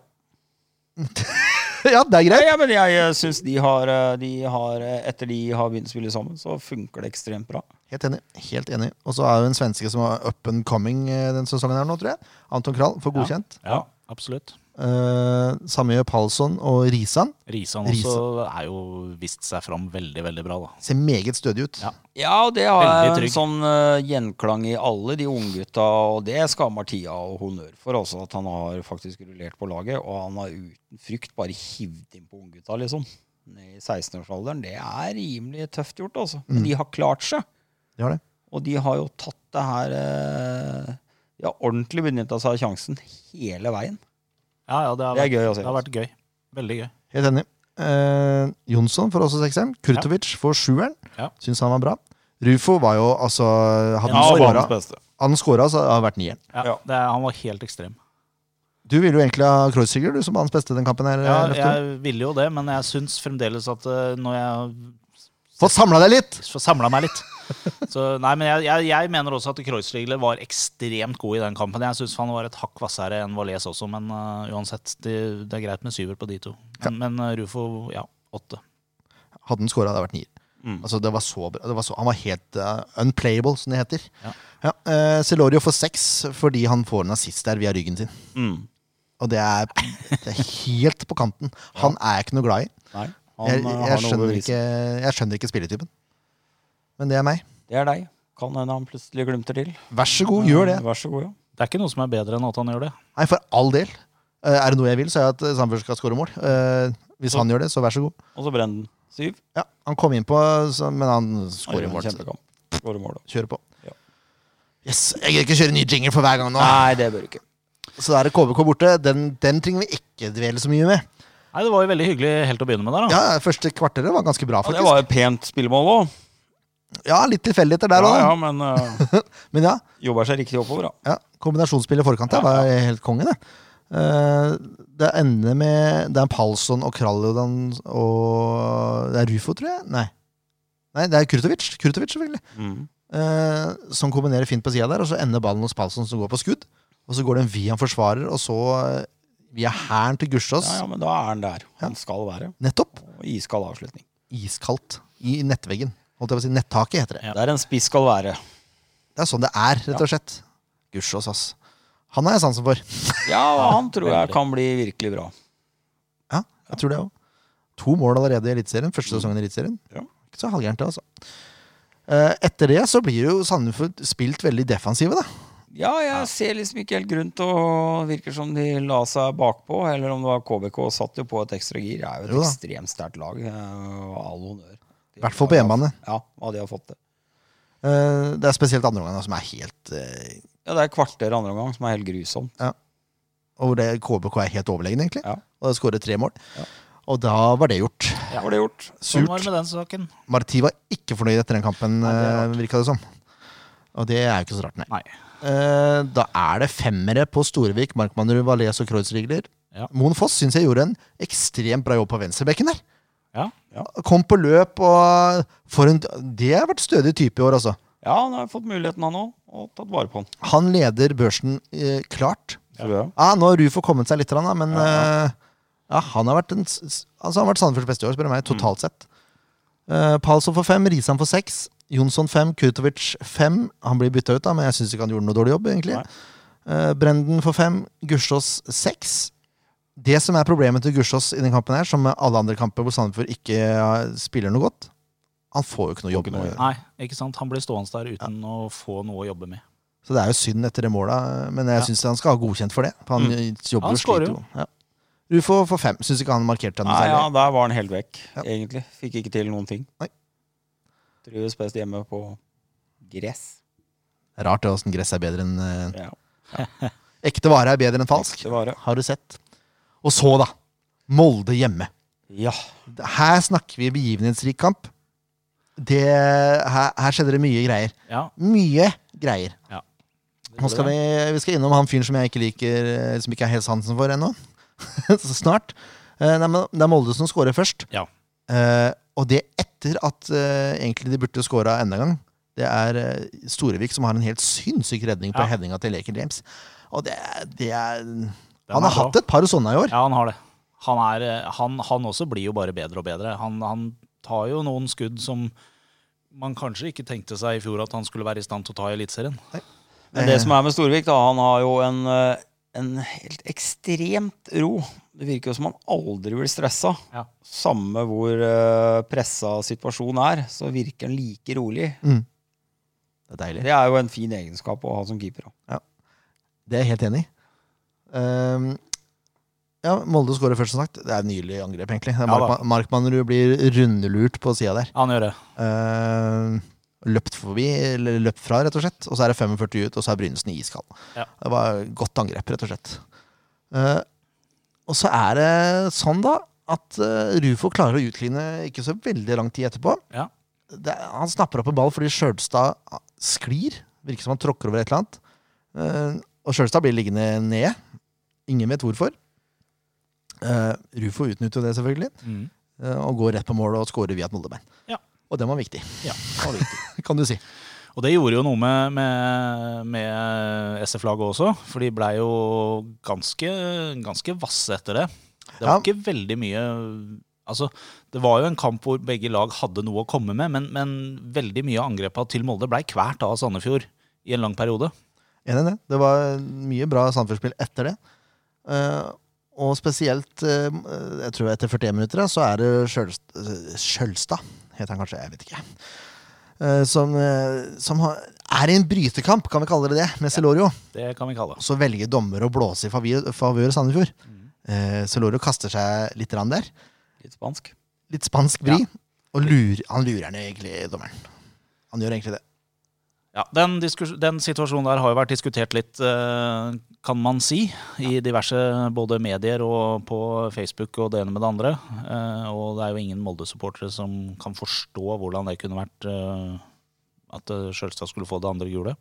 Ja,
ja, det er
ja,
greit.
ja men jeg syns de har, eh, de har eh, Etter de har begynt å spille sammen, så funker det ekstremt bra.
Helt enig. helt enig. Og så er jo en svenske som er up and coming eh, den sesongen her nå, tror jeg. Anton Krall får godkjent.
Ja, absolutt.
Eh, samme gjør Palsson og Risan.
Risan også er jo vist seg fram veldig, veldig bra, da.
Ser meget stødig ut.
Ja.
Ja, og det har
Veldig
en
trygg.
sånn eh, gjenklang i alle de unggutta, og det skal Martia og honnør for også, at han har faktisk rullert på laget, og han har uten frykt bare hivd inn på unggutta, liksom. Ned I 16-årsalderen. Det er rimelig tøft gjort, altså.
Mm.
Men de har klart seg,
De har det.
og de har jo tatt det her eh, De har ordentlig benytta seg av sjansen hele veien.
Ja, ja, det har,
Det er
vært,
gøy å se.
det har vært gøy. Veldig gøy.
Helt enig. Eh, Jonsson får også sekseren. Kurtovic får sjueren.
Ja.
Syns han var bra. Rufo var jo altså Hadde
Ja,
han
var
skåra,
beste.
han skåra, så hadde det vært nieren.
Ja,
Ja.
Det, er- han var helt ekstrem.
Du ville jo egentlig ha Kreuzrigger, du som var hans beste den kampen her.
Ja,
Ja,
jeg ville jo det, men jeg syns fremdeles at eh, når jeg
Få samla deg litt!
får samla meg litt så, Nei, men jeg, jeg, jeg mener også at Kreuzrigler var ekstremt god i den kampen. Jeg syns han var et hakk hvassere enn Valais også, men eh, uansett. Det, det er greit med syver på de to. Men, men eh, Rufo, ja, åtte.
Hadde han skåra, hadde det vært nier.
Mm.
Altså, det var så bra. Det var så, han var helt eh, unplayable, som det heter.
Ja.
Ja, eh, Celorio får seks fordi han får en assist der via ryggen sin.
Mm.
Og det er, det er helt på kanten. Han er jeg ikke noe glad i.
Nei, han
Jeg,
eh,
jeg,
har noe å
skjønner,
bevise.
ikke, jeg skjønner ikke spilletypen. Men det er meg.
Det er deg. Kan hende han plutselig glimter til.
Vær så god, gjør det.
Vær så god, ja.
Det er ikke noe som er bedre enn at han gjør det.
Nei, for all del. Eh, Er det noe jeg vil, så er det at Sandberg skal skåre mål. Eh, Hvis han gjør det, så vær så god.
Og så brenner den. Syv.
Ja, Han kom innpå, men han skårer
Han gjør
mål.
en
så
Kjempekamp. Skårer mål, da.
Kjører på.
Ja.
Yes, Jeg gidder ikke kjøre ny jingle for hver gang nå.
Nei, det bør du ikke.
Så da er det KBK borte. Den, den trenger vi ikke dvele så mye med.
Nei, Det var jo veldig hyggelig helt å begynne med der, da.
Ja, Første kvarteret var ganske bra,
Ja, det
faktisk.
var et pent spillemål òg.
Ja, Litt tilfeldigheter der
Ja,
òg,
ja, men eh,
men ja.
jobber seg riktig oppover, da.
ja Kombinasjonsspill i forkant der var helt konge, det. Eh, det ender med Det er Palsson og Kraljodan og Det er Rufo, tror jeg? Nei. Nei, det er Kurtovic. Kurtovic, selvfølgelig.
Mm.
eh, som kombinerer fint på sida der, og så ender ballen hos Palsson som går på skudd. Og så går den via en forsvarer, og så eh, via hæren til Gustavs.
Ja, ja, men da er han der. Han skal være.
Nettopp.
Og iskald avslutning.
Iskaldt. I nettveggen. Holdt jeg på å si. Nettaket heter det.
Ja.
Der en spiss skal være.
Det er sånn det er, rett og slett. Gustavs, ass. Han har jeg sansen for.
Ja, og han tror jeg kan bli virkelig bra.
Ja, jeg tror det òg. To mål allerede i Eliteserien. Første sesongen i Eliteserien.
Ja.
Ikke så halvgærent, det, altså. Eh, Etter det så blir jo Sandefjord spilt veldig defensive, da.
Ja, jeg ser liksom ikke helt grunn til å Virker som de la seg bakpå, eller om det var KBK satt jo på et ekstra gir. Det er jo et
Jo da.
ekstremt sterkt lag. eh, Og all honnør. I
hvert fall på hjemmebane.
Ja, hva de har fått til.
Eh, Det er spesielt andre omgangen som er helt eh,
Ja, det er kvarter andre omgang som er helt grusomt.
Og hvor det KBK er helt overlegen, egentlig.
Ja.
Og skårer tre mål.
Ja.
Og da var det gjort.
Ja. Var det gjort?
Sånn var det med den saken.
Marti var ikke fornøyd etter den kampen,
Nei, det er
eh, virka det som. Og det er jo ikke så rart, nei.
Nei.
Eh, Da er det femmere på Storvik, Markmannerud, Valais og Kreuzrigler.
Ja.
Moen Foss syns jeg gjorde en ekstremt bra jobb på venstrebekken der.
Ja.
Kom på løp og for en, Det har vært stødig type i år, altså.
Ja, han har fått muligheten, han òg, og tatt vare på han.
Han leder børsen eh, klart.
Tror jeg.
Ja, Ah, nå har Rufo kommet seg litt, grann, da, men
Ja, ja.
eh, ja, han har vært, en s- s- altså, han har vært Sandefjords beste i år, spør du meg, totalt sett. Uh, Palsson får fem, Risan får seks, Jonsson fem, Kurtovic fem. Han blir bytta ut, da, men jeg syns ikke han gjorde noe dårlig jobb, egentlig.
Nei.
Eh, Brenden får fem, Gussiås seks. Det som er problemet til Gussiås i den kampen her, som med alle andre kamper hvor Sandefjord ikke eh, spiller noe godt, han får jo ikke noe jobb.
noe å gjøre.
Nei, ikke sant? Han blir stående der uten å få noe å jobbe med.
Så det er jo synd etter det måla, men jeg
Ja.
syns han skal ha godkjent for det. For han
Mm.
jobber
Han
jo sliter
skårer
jo. Ja. Rufo får fem. Syns ikke han markerte henne
Nei, ja,
særlig.
der var han helt vekk,
Ja.
egentlig. Fikk ikke til noen ting.
Nei.
Trives best hjemme på gress.
Rart det åssen gress er bedre enn eh,
Ja.
Ekte vare er bedre enn falsk.
Ekte vare.
Har du sett. Og så, da. Molde hjemme.
ja.
Her snakker vi begivenhetsrik kamp. Det, her, her skjedde det mye greier.
Ja.
Mye greier.
Ja.
Nå skal vi, vi skal innom han fyren som jeg ikke liker, eh, som ikke er helt sansen for ennå. Så snart. Eh, nei, men Det er Molde som scorer først.
Ja.
Eh, og det etter at eh, egentlig de burde scora enda en gang. Det er eh, Storevik som har en helt sinnssyk redning på
Ja.
headinga til Leker James. Og det, er- det er
Den
Han har
er bra.
hatt et par sånne i år.
Ja, han har det. Han, er, eh, han, han også blir jo bare bedre og bedre. Han, han tar jo noen skudd som man kanskje ikke tenkte seg i fjor at han skulle være i stand til å ta i Eliteserien.
Men det som er med Storvik, da, han har jo en, eh, en helt ekstremt ro. Det virker jo som han aldri blir stressa.
Ja.
Samme hvor eh, pressa situasjonen er, så virker han like rolig.
Det er deilig.
Det er jo en fin egenskap å ha som keeper. da.
Det er jeg helt enig i. Ehm, ja, Molde skårer først, som sagt. Det er et nydelig angrep, egentlig. Det er
Ja da.
Markma- Markmannerud blir rundelurt på sida der.
Han gjør det.
Ehm, løpt forbi, eller løpt fra, rett og slett. Og så er det 45 ut, og så er Brynesen iskald.
Ja.
Det var godt angrep, rett og slett. Eh, og så er det sånn, da, at eh, Rufo klarer å utligne ikke så veldig lang tid etterpå.
Ja.
Det, er- han snapper opp en ball fordi Sjølstad ah, sklir. Virker som han tråkker over et eller annet. Eh, og Sjølstad blir liggende nede. Ingen vet hvorfor. Eh, Rufo utnytter jo det, selvfølgelig.
Mm.
eh, og går rett på mål og scorer via et moldebein.
Ja.
Og den var viktig,
Ja, han er viktig.
kan du si.
Og det gjorde jo noe med, med, med SF-laget også, for de blei jo ganske, ganske vasse etter det. Det var
Ja.
ikke veldig mye Altså, det Det var jo en kamp hvor begge lag hadde noe å komme med, men, men veldig mye av angrepene til Molde blei kvært av Sandefjord i en lang periode.
Enig i det. Det var mye bra samfunnsspill etter det. Eh, og spesielt eh, jeg tror etter 41 minutter da, så er det Skjølst- eh, Skjølstad, heter han kanskje, jeg vet ikke. Eh, som eh, som har, er i en brytekamp, kan vi kalle det det, med Celorio.
Det kan vi kalle det.
Så velger dommer å blåse i favir- favør Sandefjord.
Mm.
Eh, Celorio kaster seg litt rann der.
Litt spansk.
Litt spansk vri. Og lurer, han lurer ned egentlig dommeren. Han gjør egentlig det.
Ja, den, diskus- den situasjonen der har jo vært diskutert litt, eh, kan man si, i diverse både medier og på Facebook og det ene med det andre. Eh, Og det er jo ingen Molde-supportere som kan forstå hvordan det kunne vært eh, at eh, Skjølstad skulle få det andre gule.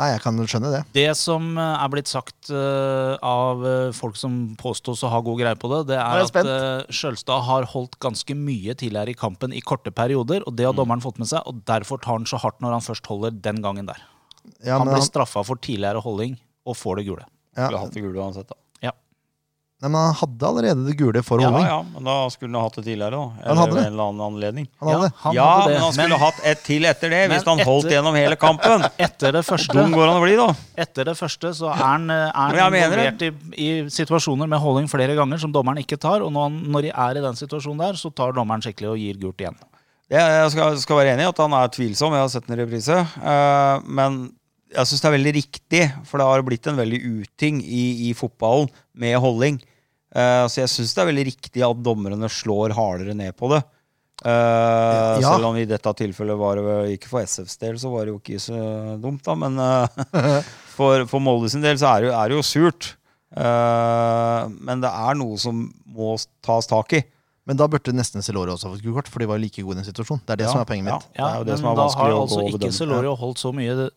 Nei, jeg kan skjønne det.
Det som eh, er blitt sagt eh, av eh, folk som påstås å ha god greie på det, det
er
er
jeg
at eh, Skjølstad har holdt ganske mye tidligere i kampen i korte perioder, og det
Mm.
har dommeren fått med seg, og derfor tar han så hardt når han først holder den gangen der.
Ja,
han
men
blir
han,
straffa for tidligere holding og får det gule.
ja.
Skulle hatt det gule uansett, da.
Nei, men han hadde allerede det gule for
Ja,
holdning.
ja, men da skulle han hatt det tidligere, da.
Han
Eller
hadde
ved
det.
en eller annen anledning.
Han hadde det.
han
ja,
hadde det,
men han skulle hatt ett til etter det,
Men
hvis han holdt
etter-
gjennom hele kampen.
etter det første,
Dum går han å bli, da.
etter det første så er han, eh, er
Men
han
jeg mener
involvert i, i situasjoner med holding flere ganger som dommeren ikke tar, og når, han, når de er i den situasjonen der, så tar dommeren skikkelig og gir gult igjen.
Jeg jeg skal, skal være enig i at han er tvilsom, jeg har sett den i reprise. eh, men jeg syns det er veldig riktig, for det har blitt en veldig uting i, i fotballen med holding. Eh, så jeg syns det er veldig riktig at dommerne slår hardere ned på det. Eh,
Ja.
Selv om i dette tilfellet var det vel- ikke for SFs del, så var det jo ikke så dumt, da. Men eh, for, for Molde sin del så er det jo, er det jo surt. Eh, men det er noe som må tas tak i.
Men da burde nesten Celorio også fått gult kort, for de var jo like gode i den situasjonen. Det er det som er poenget mitt.
Ja, det er jo det
men
som er
da
vanskelig
har
å
altså
gå og
ikke
bedømme.
Celorio holdt så mye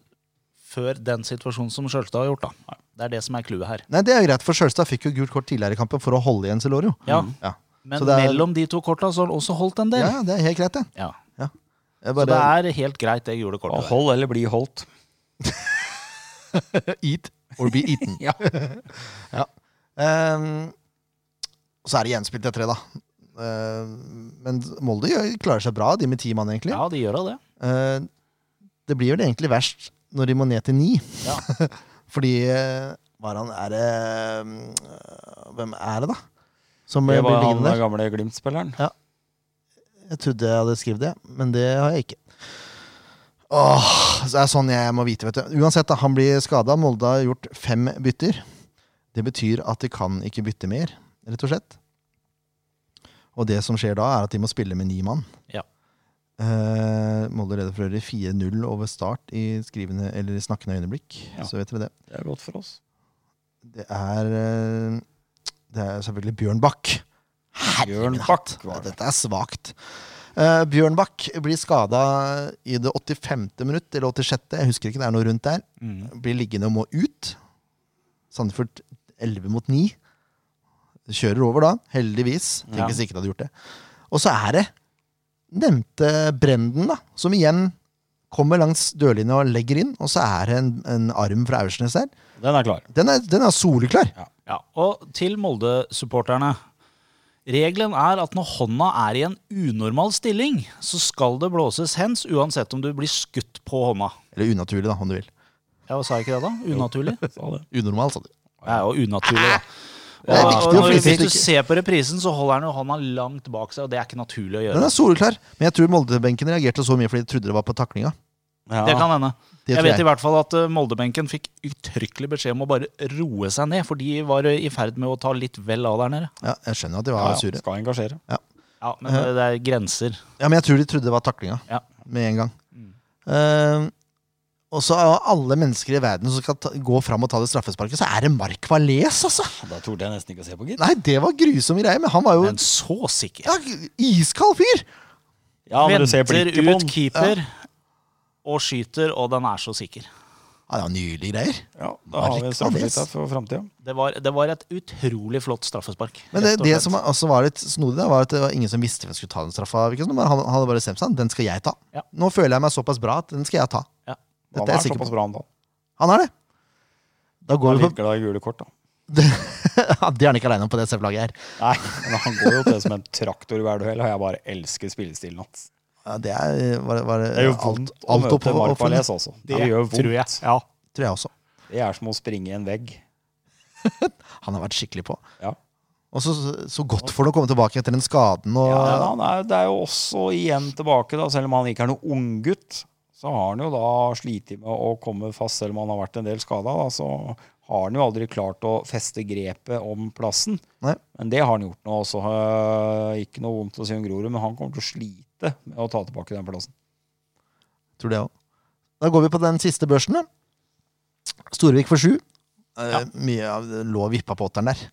før den situasjonen som Sjølstad har gjort. da. Det er det som er clouet her.
Nei, det er greit, for Sjølstad fikk jo gult kort tidligere i kampen for å holde igjen Celorio.
Ja,
Mhm.
Ja.
Men
Så det er-
mellom de to korta så har han også holdt en del.
ja, ja, det er helt greit, det.
Ja.
Jeg
Så
bare,
det er helt greit, det gule
Og
kortet. der.
hold eller bli holdt.
Eat or be eaten.
Ja.
Ja. Ehm, så er det gjenspilt etter det, da. Ehm, men Molde gjør- klarer seg bra, de med ti mann, egentlig.
Ja, de gjør da det.
Ehm, det blir vel egentlig verst når de må ned til ni.
Ja.
Fordi eh, var han, er det mm, øh, Hvem er det, da? Som eh,
Det
blir
var
liggende
han
der?
den gamle Glimt-spilleren.
Jeg trodde jeg hadde skrevet det, men det har jeg ikke. Åh, det er sånn jeg må vite, vet du. Uansett, da, han blir skada. Molde har gjort fem bytter. Det betyr at de kan ikke bytte mer, rett og slett. Og det som skjer da, er at de må spille med ni mann.
Ja.
Eh, Molde leder for øvrig 4-0 over start i, skrivende, eller i snakkende øyeblikk.
Ja.
Så vet dere det.
Det er godt for oss.
Det er, eh, det er selvfølgelig Bjørn Bakk.
Bjørn
Herregud,
Bakk
hatt.
var det.
Dette er svakt. Eh, Bjørn Bakk blir skada i det 85. minutt, eller 86., jeg husker ikke, det er noe rundt der.
Mm.
Blir liggende og må ut. Sandefjord 11 mot 9. Kjører over da, heldigvis. Tenk
Ja.
hvis ikke det hadde gjort det. Og så er det nevnte Brenden, da, som igjen kommer langs dørlinja og legger inn. Og så er det en, en arm fra Aursnes der.
Den er klar.
Den er, den er soleklar.
Ja, Og til Molde-supporterne. Regelen er at når hånda er i en unormal stilling, så skal det blåses hens uansett om du blir skutt på hånda.
Eller unaturlig, da, om du vil.
Ja, Sa jeg ikke det, da? Unaturlig?
Unormal, sa du.
Det er jo unaturlig, da.
Det er viktig å
og når,
flytte
hvis du
ikke-
ser på reprisen, så holder han jo hånda langt bak seg, og det er ikke naturlig å
Den
gjøre.
er soleklar. Men jeg tror Molde-benken reagerte så mye fordi de trodde det var på taklinga.
Det kan hende.
Det
jeg
tror
vet i
jeg.
hvert fall at eh, Molde-benken fikk uttrykkelig beskjed om å bare roe seg ned, for de var eh, i ferd med å ta litt vel av der nede.
Ja, jeg skjønner at de
Ja,
var
ja,
sure.
Skal engasjere.
Ja, Men det, det er grenser.
Ja, Men jeg tror de trodde det var taklinga
Ja. Mm.
med en gang. Eh, og så av alle mennesker i verden som skal ta, gå fram og ta det straffesparket, så er det Mark Valles, altså!
Da torde jeg nesten ikke å se på, gitt.
Nei, det var grusomme greier, men han var jo
Men så sikker.
ja, iskald fyr!
Ja, når du ser
Venter
blikket på
ut
den.
keeper og skyter, og den er så sikker.
Ja, det var nydelige geier.
Ja, da har vi
Mark
straffeskytta for framtida.
Det var, det var et utrolig flott straffespark.
Men det,
rett og
det
slett.
som også var litt snodig, da, var at det var ingen som visste hvem som skulle ta den straffa. Ikke sant? Men Han han hadde bare bestemt seg. Den skal jeg ta.
Ja.
Nå føler jeg meg såpass bra at den skal jeg ta.
ja.
Dette
Han
er jeg
er
sikker på.
såpass bra, han da.
Han er det. Da
Han
går
er
vi
litt glad i gule kort, da.
på, Det, ja, det er han ikke aleine om på det SF-laget her.
Nei, men han går jo til som en traktor i hver duell, og jeg bare elsker spillestilen hans.
Ja, det er, var, det- var, det-
Det er jo
alt-
vondt å
alt
møte
oppover-
Marpales
oppover-
også. Det gjør vondt.
Tror jeg. Ja.
Tror jeg også.
Det er som å springe i en vegg.
Han har vært skikkelig på.
Ja.
Og så, så godt for ham å komme tilbake etter den skaden. Og,
Ja, men han er, det er jo også igjen tilbake, da, selv om han ikke er noen unggutt. Så har han jo da slitt med å komme fast, selv om han har vært en del skada. Så har han jo aldri klart å feste grepet om plassen.
Nei.
Men det har han gjort nå. Så øh, ikke noe vondt å si om Grorud, men han kommer til å slite med å ta tilbake den plassen.
Tror det også. Da går vi på den siste børsen. da. Storvik for sju. Eh, Mye av det lå og vippa på åtteren der.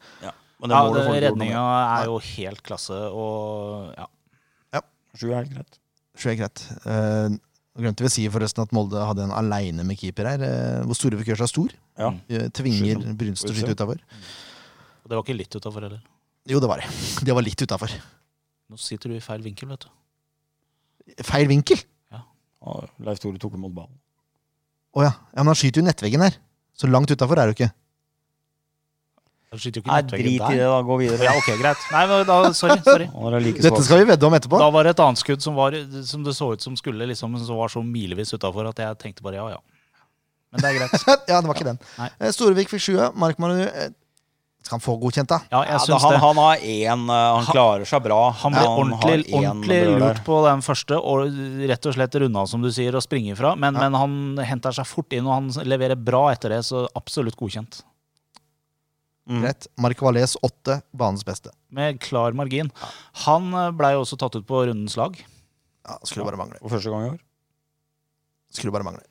Men
ja det, redninga er jo helt klasse, og ja.
Sju er helt greit.
Tror jeg er greit. Eh, glemte vi å si forresten at Molde hadde en aleine med keeper her, eh, hvor Storvik gjør seg stor.
Ja.
Eh, Tvinger
Skyter.
Brynst til å skyte utafor.
Og det var ikke litt utafor heller.
Jo, det var det. Det var litt utafor.
Nå sitter du i feil vinkel, vet du.
Feil vinkel!
Ja, Leif Tore tok imot ballen.
Å ja. ja, men han skyter jo nettveggen her. Så langt utafor er du ikke.
Du skyter jo ikke
Nei,
nettveggen
drit i
der.
det, da. Gå videre.
Ja, ok, greit. Nei, men da, sorry, sorry.
Han er like
Dette
svak.
skal vi vedde om etterpå.
Da var det et annet skudd som, var, som det så ut som skulle, liksom, men som var så milevis utafor at jeg tenkte bare ja, ja. Men det er greit.
ja, det var ikke den.
Nei.
Eh, Storevik fikk sjue. Mark Manu eh, skal han få godkjent, da.
Ja,
Ja,
jeg
da,
syns
han,
det.
han har én øh, Han klarer seg bra.
Han ble
Ja, har
ordentlig,
én
ordentlig
brøler.
lurt på den første, og rett og slett runda, som du sier, og springe ifra. Men, men han henter seg fort inn, og han leverer bra etter det, så absolutt godkjent.
Mm.
Greit. Mark Valais åtte, banens beste.
Med klar margin. Han eh, ble jo også tatt ut på rundens lag.
Ja, skulle bare mangle.
For første gang i år.
Skulle bare mangle.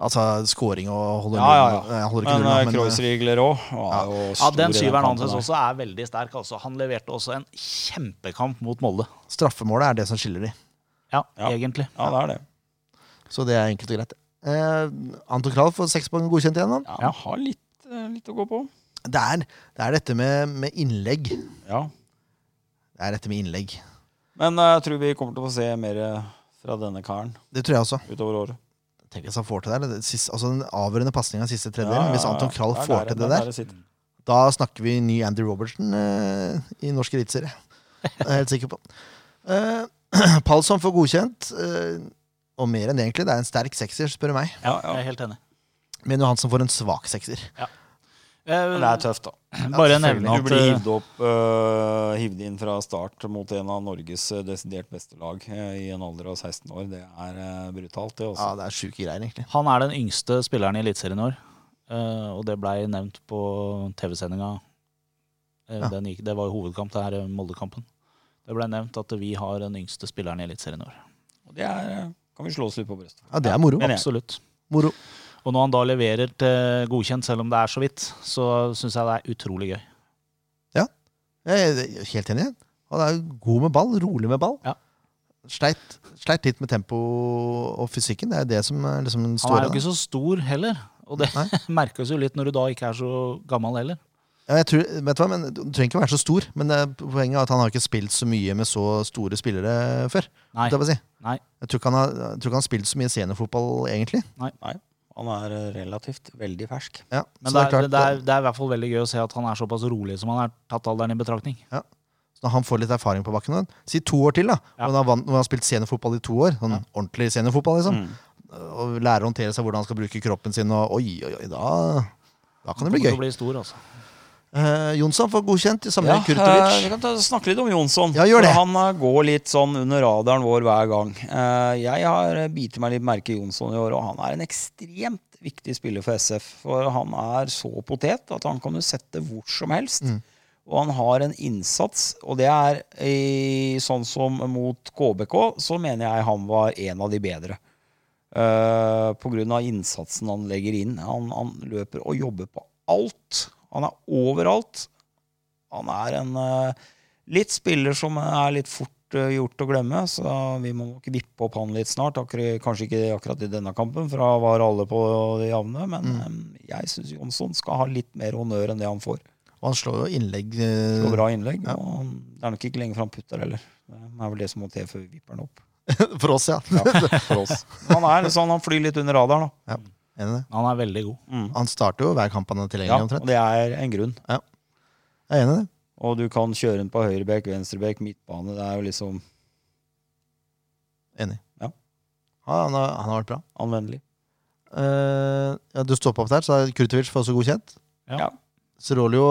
Altså, scoring og holder
Ja, ja, ja.
nullen. Eh, holder ikke
Men
nullen, da,
eh, Kreuzrigler òg.
Ja.
Ja, Den syveren hans også er veldig sterk. altså. Han leverte også en kjempekamp mot Molde.
eh, straffemålet er det som skiller de.
Ja,
Ja.
egentlig.
Ja, det er det.
Så det er enkelt og greit. Eh, Anton Kralj får seks poeng godkjent igjen. Han.
Ja, han har litt, eh, litt å gå på.
Det, er, det er dette med, med innlegg.
Ja.
Det er dette med innlegg.
Men eh, jeg tror vi kommer til å få se mer eh, fra denne karen
Det tror jeg også.
utover året.
Tenk hvis han får til det. her. det siste, altså, den avgjørende pasninga siste tredjedel.
Ja, ja,
Hvis Anton Kralj
ja,
får
er
til det
er
der,
sitter.
Da snakker vi ny Andy Robertson eh, i norsk eliteserie. Det er jeg helt sikker på. Eh, Palsson får godkjent, eh, og mer enn det, egentlig. Det er en sterk sekser, spør du meg.
Ja, Jeg er helt enig.
Men Johansen får en svak sekser.
Eh,
Men det er tøft, da.
bare
selvfølgelig.
nevne
Du
at
blir
eh,
hivd opp, eh, hivd inn fra start mot en av Norges eh, desidert beste lag eh, i en alder av 16 år. Det er eh, brutalt, det
Ja,
også.
det er sjuke greier, egentlig.
Han er den yngste spilleren i Eliteserien i år, eh, og det blei nevnt på TV-sendinga. Eh,
Ja.
den gikk- Det var jo hovedkamp, det her eh, Molde-kampen. Det blei nevnt at vi har den yngste spilleren i Eliteserien i år.
Og det er, eh, kan vi slå oss litt på brystet.
Ja, Det er moro.
Men jeg-
Absolutt.
moro.
Og når han da leverer til godkjent, selv om det er så vidt, så syns jeg det er utrolig gøy.
Jeg er helt enig. Han er god med ball, rolig med ball.
Ja.
Sleit, sleit litt med tempo og fysikken. Det er det som eh, liksom
Han
står
er jo ikke så stor heller, og det
Nei.
merkes jo litt når du da ikke er så gammel heller.
Ja, jeg tror, vet du hva, men Du trenger ikke å være så stor, men det, er- poenget er at han har ikke spilt så mye med så store spillere før.
Nei.
holdt Jeg, på å si.
Nei.
jeg tror ikke han har, jeg tror ikke han har spilt så mye seniorfotball, egentlig.
Han er eh, relativt veldig fersk.
Ja,
Men
så
det er, det, er
klart,
det, er, i hvert fall veldig gøy å se at han er såpass rolig som han er, tatt alderen i betraktning.
Når han får litt erfaring på bakken, si to år til, da. Når,
Ja.
han har vant, når han har spilt seniorfotball i to år, sånn ordentlig seniorfotball, liksom,
Mm.
og lærer å håndtere seg hvordan han skal bruke kroppen sin, og oi, oi, oi, da, da kan det bli gøy.
Kommer til å Bli stor, altså.
Eh, Jonsson får godkjent i samme ja,
Ja, eh, vi
Kurtovic.
kan ta, snakke litt om Jonsson.
Ja, gjør
For
det.
Han eh, går litt sånn under radaren vår hver gang. Eh, Jeg har eh, bitt meg litt merke i Jonsson i år, og han er en ekstremt viktig spiller for SF. For han er så potet at han kan du sette hvor som helst.
Mm.
Og han har en innsats, og det er i, sånn som mot KBK, så mener jeg han var en av de bedre. Eh, på grunn av innsatsen han legger inn. Han, han løper og jobber på alt. Han er overalt. Han er en eh, litt spiller som er litt fort eh, gjort å glemme, så vi må nok vippe opp han litt snart. Akkurat, kanskje ikke akkurat i denne kampen, for da var alle på det jevne, men
Mm.
eh, jeg syns Jonsson skal ha litt mer honnør enn det han får.
Og han slår jo innlegg
Det går
eh,
bra innlegg,
Ja.
og han, det er nok ikke lenge før han putter heller. Det er vel det som må til før vi vipper han opp.
for oss, ja.
Ja, for oss. Han er sånn, han flyr litt under radaren, da.
Ja. Enig i det?
Han er veldig god.
Mm.
Han starter jo hver kamp han er tilgjengelig,
Ja, og
omtrent.
det er en grunn.
Jeg er enig i det.
Og du kan kjøre den på høyrebekk, venstrebekk, midtbane. Det er jo liksom
Enig.
Ja.
Ja, han, har, han har vært bra.
anvendelig.
Eh, ja, du stopper opp der, så er Kurtovic for også godkjent.
Ja.
Ja.
Serolio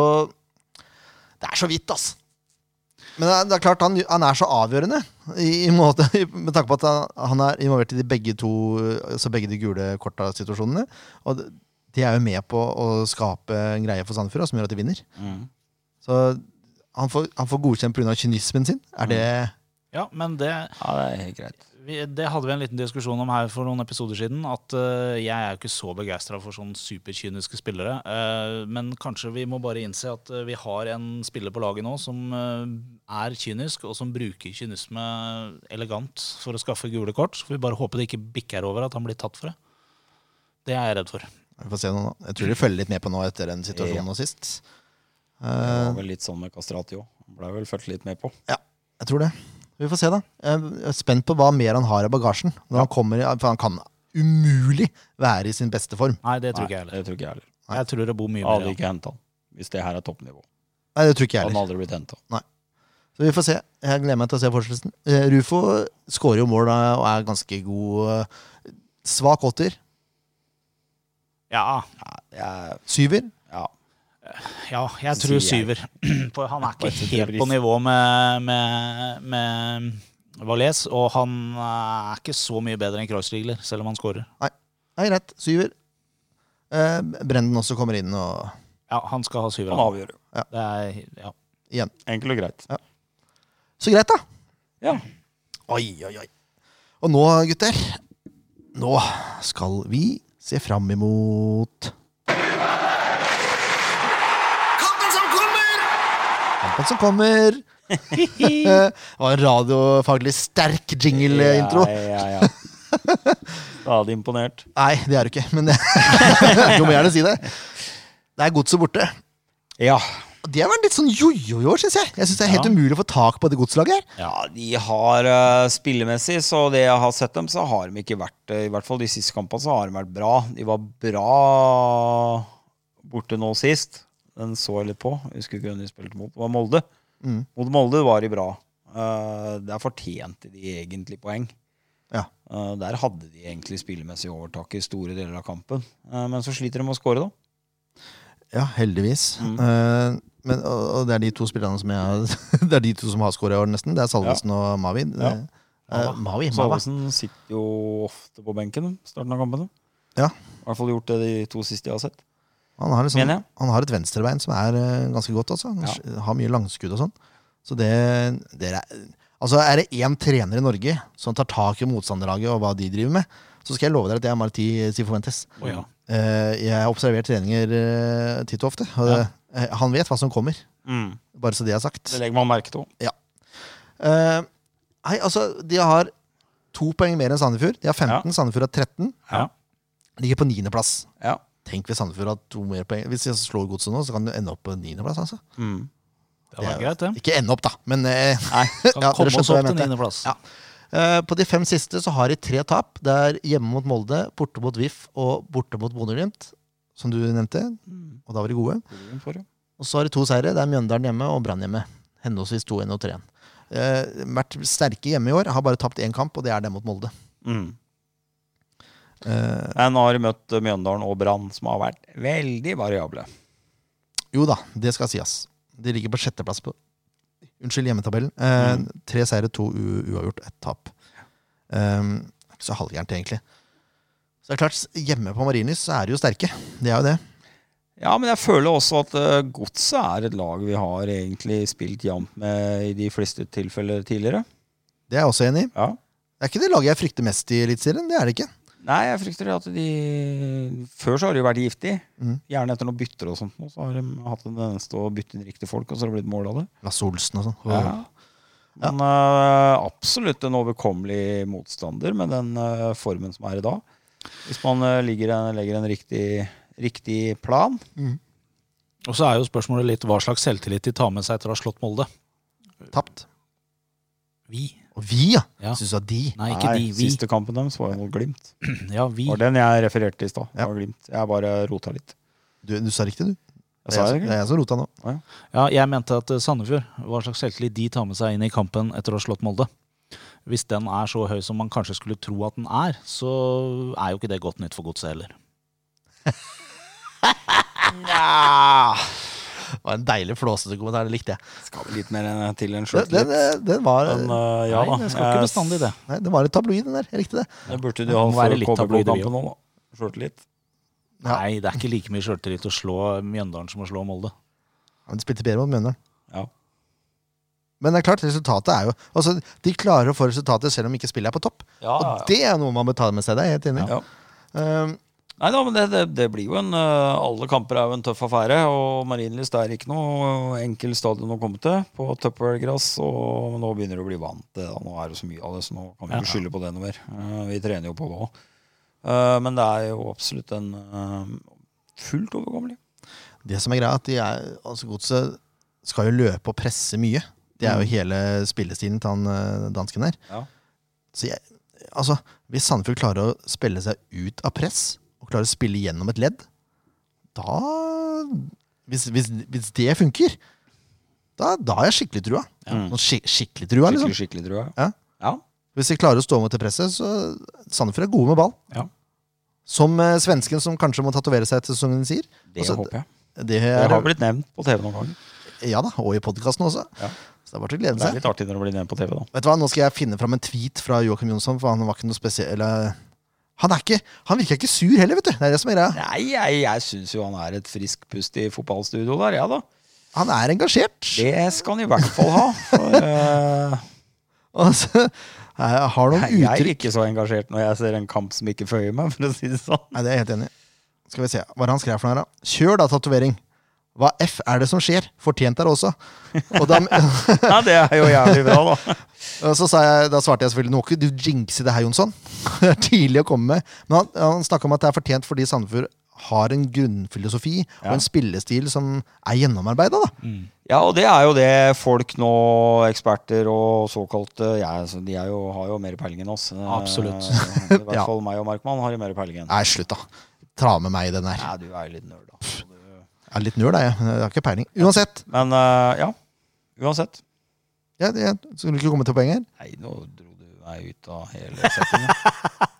Det er så vidt, ass! Men det er, det er klart, han, han er så avgjørende, i, i måte, i- med tanke på at han, han er involvert i de begge, to, altså begge de gule korta-situasjonene. Og det- de er jo med på å skape en greie for Sandefjord da, som gjør at de vinner.
Mm.
Så han får, han får godkjent pga. kynismen sin. Er det
Ja, men det,
ja, det er helt greit.
vi, det hadde vi en liten diskusjon om her for noen episoder siden. At eh, jeg er jo ikke så begeistra for sånne superkyniske spillere. eh, men kanskje vi må bare innse at eh, vi har en spiller på laget nå som eh, er kynisk, og som bruker kynisme elegant for å skaffe gule kort. Så vi bare håper det ikke bikker over at han blir tatt for det. Det er jeg redd for.
Vi får se nå. da. Jeg tror de følger litt med på nå etter den situasjonen
Ja.
nå sist.
Det
Eh,
var vel litt sånn med Kastrati òg. Blei vel fulgt litt med på.
Jeg tror det. Vi får se, da. Jeg er spent på hva mer han har i bagasjen. Når han kommer, i- for han kan umulig være i sin beste form.
Nei, det tror ikke jeg
Nei,
heller.
det tror ikke jeg heller.
Jeg tror det bor mye mer.
Hadde
Ja.
ikke henta han. Hvis det her er toppnivå.
Nei, det tror ikke jeg
Hadde
heller.
han aldri blitt henta.
Så vi får se. Jeg gleder meg til å se fortsettelsen. Eh, Rufo skårer jo mål da, og er ganske god. eh, Svak åtter.
Ja,
Syver.
Ja.
ja, jeg
Så
tror
sier
syver. For han er
Bare
ikke
til
helt på
pris.
nivå med, med, med Valais, og han er ikke så mye bedre enn Kreuzrigler, selv om han skårer.
Nei, greit. Syver. Eh, Brenden også kommer inn og
Ja, han skal ha syver.
Han
han.
avgjør jo.
Det er, ja.
Enkelt og greit.
Så greit, da.
Ja.
Oi, oi, oi. Og nå, gutter, nå skal vi se fram imot
Kampen som kommer!
kampen som kommer. det var en radiofaglig sterk jingle-intro.
Ja, ja, ja. Stadig imponert.
Nei, det er du ikke, men det, du må gjerne si det. Det er godset borte.
Ja.
Og Det har vært litt sånn jojo i år, syns jeg. Jeg synes Det er helt
Ja.
umulig å få tak på det godslaget her.
Ja, de har eh, spillemessig, så det jeg har sett dem, så har de ikke vært eh, I hvert fall de siste kampene så har de vært bra. De var bra borte nå sist. Den så jeg litt på. Jeg husker ikke hvem de spilte mot. Det var Molde.
Mm.
Mot Molde var de bra. Eh, der fortjente de egentlig poeng.
Ja.
Eh, der hadde de egentlig spillemessig overtak i store deler av kampen. Eh, men så sliter de med å score, da.
Ja, heldigvis.
Mm.
Eh, men, og, og det er de to spillerne som jeg har Det er de to som har skåra i år, nesten. Det er Salvesen og Mavin.
Ja.
Eh, eh, Mavi, Mava.
Salvesen sitter jo ofte på benken starten av kampene.
Ja.
I hvert fall gjort det de to siste jeg har sett.
Han har, liksom,
Mener jeg.
han har et venstrebein som er eh, ganske godt. Altså. Han
Ja.
s- har mye langskudd og sånn. Så det, det er, altså er det én trener i Norge som tar tak i motstanderlaget og hva de driver med, så skal jeg love dere at det er Marti Sifuentes.
Å ja.
Eh, jeg har observert treninger eh, titt og ofte. Og det, eh, han vet hva som kommer, bare så det er sagt.
Det legger man merke til.
Eh, nei, altså, de har to poeng mer enn Sandefjord. De har 15, Sandefjord har 13.
Ja.
Ligger på niendeplass.
Ja.
Tenk hvis Sandefjord har to mer poeng. Hvis de slår godset nå, så kan de ende opp på niendeplass. Altså.
Det var greit, det.
Ikke ende opp, da, men eh,
Skal
Ja, dere
komme
skjønte
oss
hva
opp
jeg
til
mente.
niendeplass.
Ja. eh, på de fem siste så har de tre tap. Det er hjemme mot Molde, borte mot VIF og borte mot Bodø-Glimt, som du nevnte.
Mm.
Og da var de gode. Og så har de to seire. Det er Mjøndalen hjemme og Brann hjemme. Henholdsvis 2-1 og 3-1. Eh, vært sterke hjemme i år. Har bare tapt én kamp, og det er det mot Molde.
Mm.
Eh,
Men Nå har de møtt Mjøndalen og Brann, som har vært veldig variable.
jo da, det skal sies. De ligger på sjetteplass på Unnskyld, hjemmetabellen. Eh,
Mm.
Tre seire, to u uavgjort, ett tap. Eh, ikke så halvgærent, egentlig. Så det er klart, Hjemme på Marienlyst så er de jo sterke. Det er jo det.
Ja, men jeg føler også at eh, Godset er et lag vi har egentlig spilt jevnt med i de fleste tilfeller tidligere.
Det er jeg også enig i.
Ja.
Det er ikke det laget jeg frykter mest i Eliteserien. Det er det ikke.
Nei, jeg frykter at de Før så har de jo vært giftige.
Mm.
Gjerne etter noen bytter og sånt. nå, Så har de hatt en tendens til å bytte inn riktige folk, og så har det blitt mål av det.
Lasse Olsen og sånn.
Ja. Men eh, absolutt en overkommelig motstander med den eh, formen som er i dag. Hvis man eh, ligger en, legger en riktig, riktig plan.
Og så er jo spørsmålet litt hva slags selvtillit de tar med seg etter å ha slått Molde.
Tapt.
Vi.
Og Og vi, ja!
Ja.
Syns du at de
Nei, ikke de. Vi.
Siste kampen deres var jo mot Glimt.
Ja, vi.
Det var den jeg refererte i stad. Det
Ja.
var Glimt. Jeg bare rota litt.
Du, du sa riktig, du.
Jeg sa
det, er
det,
jeg, som- det er jeg som rota nå.
Ja, jeg mente at eh, Sandefjord, hva slags selvtillit de tar med seg inn i kampen etter å ha slått Molde. Hvis den er så høy som man kanskje skulle tro at den er, så er jo ikke det godt nytt for godset heller.
Det var en deilig flåsete kommentar. Det likte jeg.
Skal vel litt mer enn- til en
Den, den,
sjøltillit.
eh, den, var,
Men eh, ja da.
Nei, det skal ikke
jeg-
bestandig det.
nei, den var litt tabloid, den der. Jeg likte det.
Det burde du
Det
ha
må være
for
litt
kobberblodkampen
tabloideri
nå, da. Sjøltillit.
Ja.
Nei, det er ikke like mye sjøltillit å slå Mjøndalen som å slå Molde.
Ja, men de spilte bedre mot Mjøndalen.
Ja.
Men det er klart, resultatet er jo altså, De klarer å få resultatet selv om ikke spillet er på topp.
Ja,
Og det er noe man må ta med seg. Det er jeg helt enig i.
Ja.
Um,
Nei da, men det, det, det blir jo en eh, Alle kamper er jo en tøff affære, og Marienlyst er ikke noe enkel stadion å komme til på tuppergrass. Og nå begynner det å bli vant til det. da. Nå er det så mye av det, så nå kan vi
Ja.
ikke skylde på det noe mer. Eh, vi trener jo på det òg. men det er jo absolutt en eh, fullt overkommelig.
det som er greia, er at de er, altså, Godset skal jo løpe og presse mye. Det er jo hele spillestilen til han eh, dansken der.
Mm. Ja.
Så jeg, altså, hvis Sandefjord klarer å spille seg ut av press, og klarer å spille gjennom et ledd, da Hvis, hvis, hvis det funker, da, da har jeg skikkelig trua.
Mm.
Sånn skik skikkelig trua, liksom.
Skikkelig, skikkelig, tror jeg.
Ja.
ja.
Hvis de klarer å stå mot det presset, så Sandefjord er gode med ball.
Ja.
Som eh, svensken som kanskje må tatovere seg etter sesongen, sier.
Det
Altså,
håper jeg.
Det
Det
er,
har blitt nevnt på TV noen ganger.
ja da, Og i podkasten også.
Ja.
Så det er bare til å glede
Det
seg.
er litt artig når det blir nevnt på TV, da.
Vet du hva, Nå skal jeg finne fram en tweet fra Joakim Jonsson, for han var ikke noe spesiell eller- Han, er ikke, han virka ikke sur heller, vet du. Det er det som er greia.
Nei, jeg, jeg syns jo han er et friskt pust i fotballstudio der, jeg, ja, da.
Han er engasjert.
Det skal han i hvert fall ha. For, eh,
Altså, jeg har noen
Nei, jeg er
uttrykk
ikke så engasjert når jeg ser en kamp som ikke føyer meg, for å si det sånn.
Nei, det er jeg helt enig i. Skal vi se, hva er det han skrev for noe her, da? Kjør da, tatovering. Hva F er det som skjer? Fortjent er det også. Og da,
Nei, det er jo jævlig bra, da.
og så sa jeg, da svarte jeg selvfølgelig Nå må ikke du jinxe det her, Jonsson. Det er tidlig å komme med. Men han, han snakka om at det er fortjent fordi Sandefjord har en grunnfilosofi og
Ja. Mm.
en spillestil som er gjennomarbeida, da.
Ja, og det er jo det folk nå, eksperter og såkalte ja, altså, De er jo, har jo mer peiling enn oss. Eh,
Absolutt.
I hvert
Ja.
fall meg og Markmann har jo mer peiling enn
Nei, slutt, da. Ta med meg i den her.
Nei, du er jo litt nerd, da.
Jeg er litt nøl, da, jeg. Jeg har ikke peiling. Uansett.
Men eh, ja, uansett.
Jeg, jeg skulle ikke komme til poenget her.
Nei, nå dro du meg ut av hele settingen.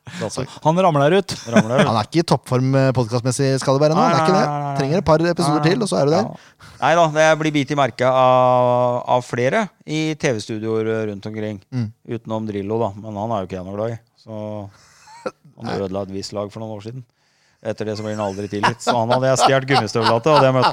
Han ramler ut!
Ramler
Han er ikke i toppform eh, podcastmessig skal det være nå. Han er ikke
Nei, nei, nei,
det.
nei.
Trenger et par episoder til, og så er du der.
Nei da, det blir bit i merket av, av flere i TV-studioer rundt omkring.
Mm.
Utenom Drillo, da. Men han er jo ikke jeg noe glad i. Så han ødela et visst lag for noen år siden. Etter det så blir han aldri tilgitt. Så han hadde jeg stjålet gummistøvla til, hadde jeg møtt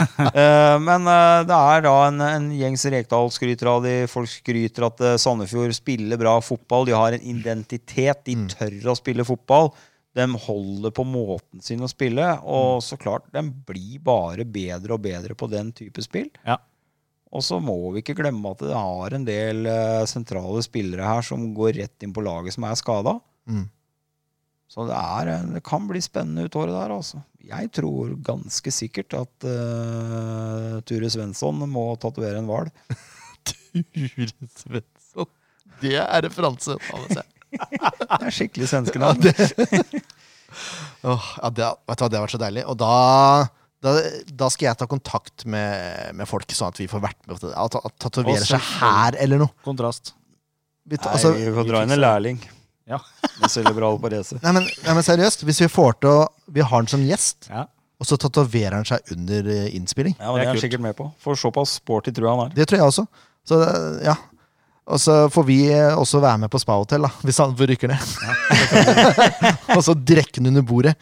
han. Eh, men eh, det er da en, en gjengs Rekdal skryter av de. Folk skryter at eh, Sandefjord spiller bra fotball. De har en identitet. De tør å spille fotball. De holder på måten sin å spille. Og så klart, de blir bare bedre og bedre på den type spill.
Ja.
Og så må vi ikke glemme at det har en del eh, sentrale spillere her som går rett inn på laget som er skada.
Mm.
Så det, er, en- det kan bli spennende ut året der, altså. Jeg tror ganske sikkert at eh, Ture Svensson må tatovere en hval.
Ture Svensson. Det er referanse. ta med seg.
Det er skikkelig svenske
Ja,
navn.
det, Åh, ja, det, vet du hva, det har vært så deilig. Og da, da, da skal jeg ta kontakt med, med folk, sånn at vi får vært med på det. At at
Og
tatovere
så-
seg her eller noe.
Kontrast.
Vi, ta-
Nei,
altså,
vi får dra inn en lærling.
Ja.
Med cerebral parese.
nei, men, nei, men seriøst, hvis vi får til å Vi har han som gjest,
Ja.
og så tatoverer han seg under eh, innspilling.
Ja, men det
Det er
er han
kult.
sikkert med på. For såpass sporty tror jeg han er.
Det tror jeg også. Så eh, ja. Og så får vi eh, også være med på spahotell, da, hvis han rykker ned. og så drekke den under bordet.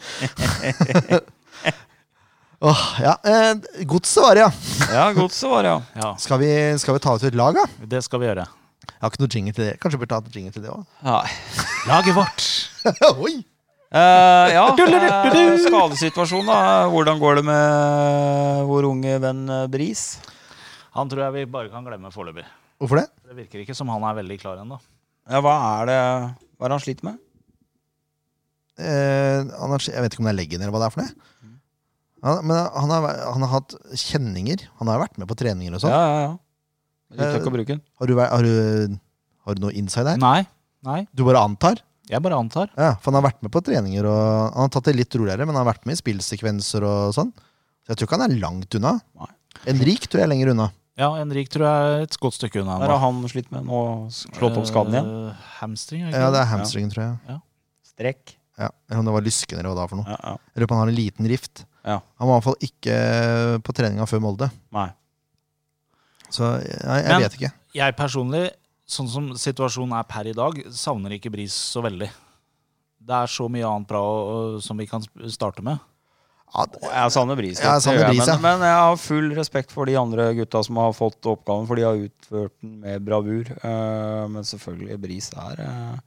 Åh, ja. Eh, Godset var det, ja.
Ja, godset var det, ja.
ja,
Skal vi, skal vi ta ut et lag, da?
det skal vi gjøre.
Jeg har ikke noe jingle til det. Kanskje vi burde ta et jingle til det òg.
Nei.
Laget vårt!
Oi!
Eh, ja, eh, skadesituasjonen, da. Hvordan går det med vår unge venn eh, Bris?
Han tror jeg vi bare kan glemme foreløpig.
Hvorfor det?
Det virker ikke som han er veldig klar ennå.
Ja, hva er det Hva er det han sliter med?
Eh, han har, jeg vet ikke om det er leggen eller hva det er for noe. Ja, men han har, han har hatt kjenninger. Han har vært med på treninger og sånn.
Eh, Ja, ja, ja. Litt tøkk å bruke den.
Har, du væ- har, du- Har du noe inside her?
Nei. Nei.
Du bare antar?
Jeg bare antar.
Ja, for han har vært med på treninger og Han har tatt det litt roligere, men han har vært med i spillsekvenser og sånn. Så jeg tror ikke han er langt unna.
Nei.
Henrik tror jeg er lenger unna.
Ja, Henrik tror jeg er et godt stykke unna.
Der har han slitt med nå. Slått opp skaden igjen.
Eh, hamstring, er det
Ja,
ikke
det
det?
er hamstringen, tror jeg.
Strekk.
Ja, Eller om det var lysken eller hva det var for noe.
Ja, ja.
Eller om han har en liten rift.
Ja.
Han var i hvert fall ikke eh, på treninga før Molde.
Nei.
Så jeg, jeg
Men-
vet ikke.
Jeg personlig, sånn som situasjonen er per i dag, savner ikke Bris så veldig. Det er så mye annet bra å- som vi kan sp- starte med.
Ja, det-
Jeg savner Bris,
Ja, jeg savner
det gjør
Bris, ja.
men, men jeg har full respekt for de andre gutta som har fått oppgaven, for de har utført den med bravur. Eh, men selvfølgelig, Bris er, eh,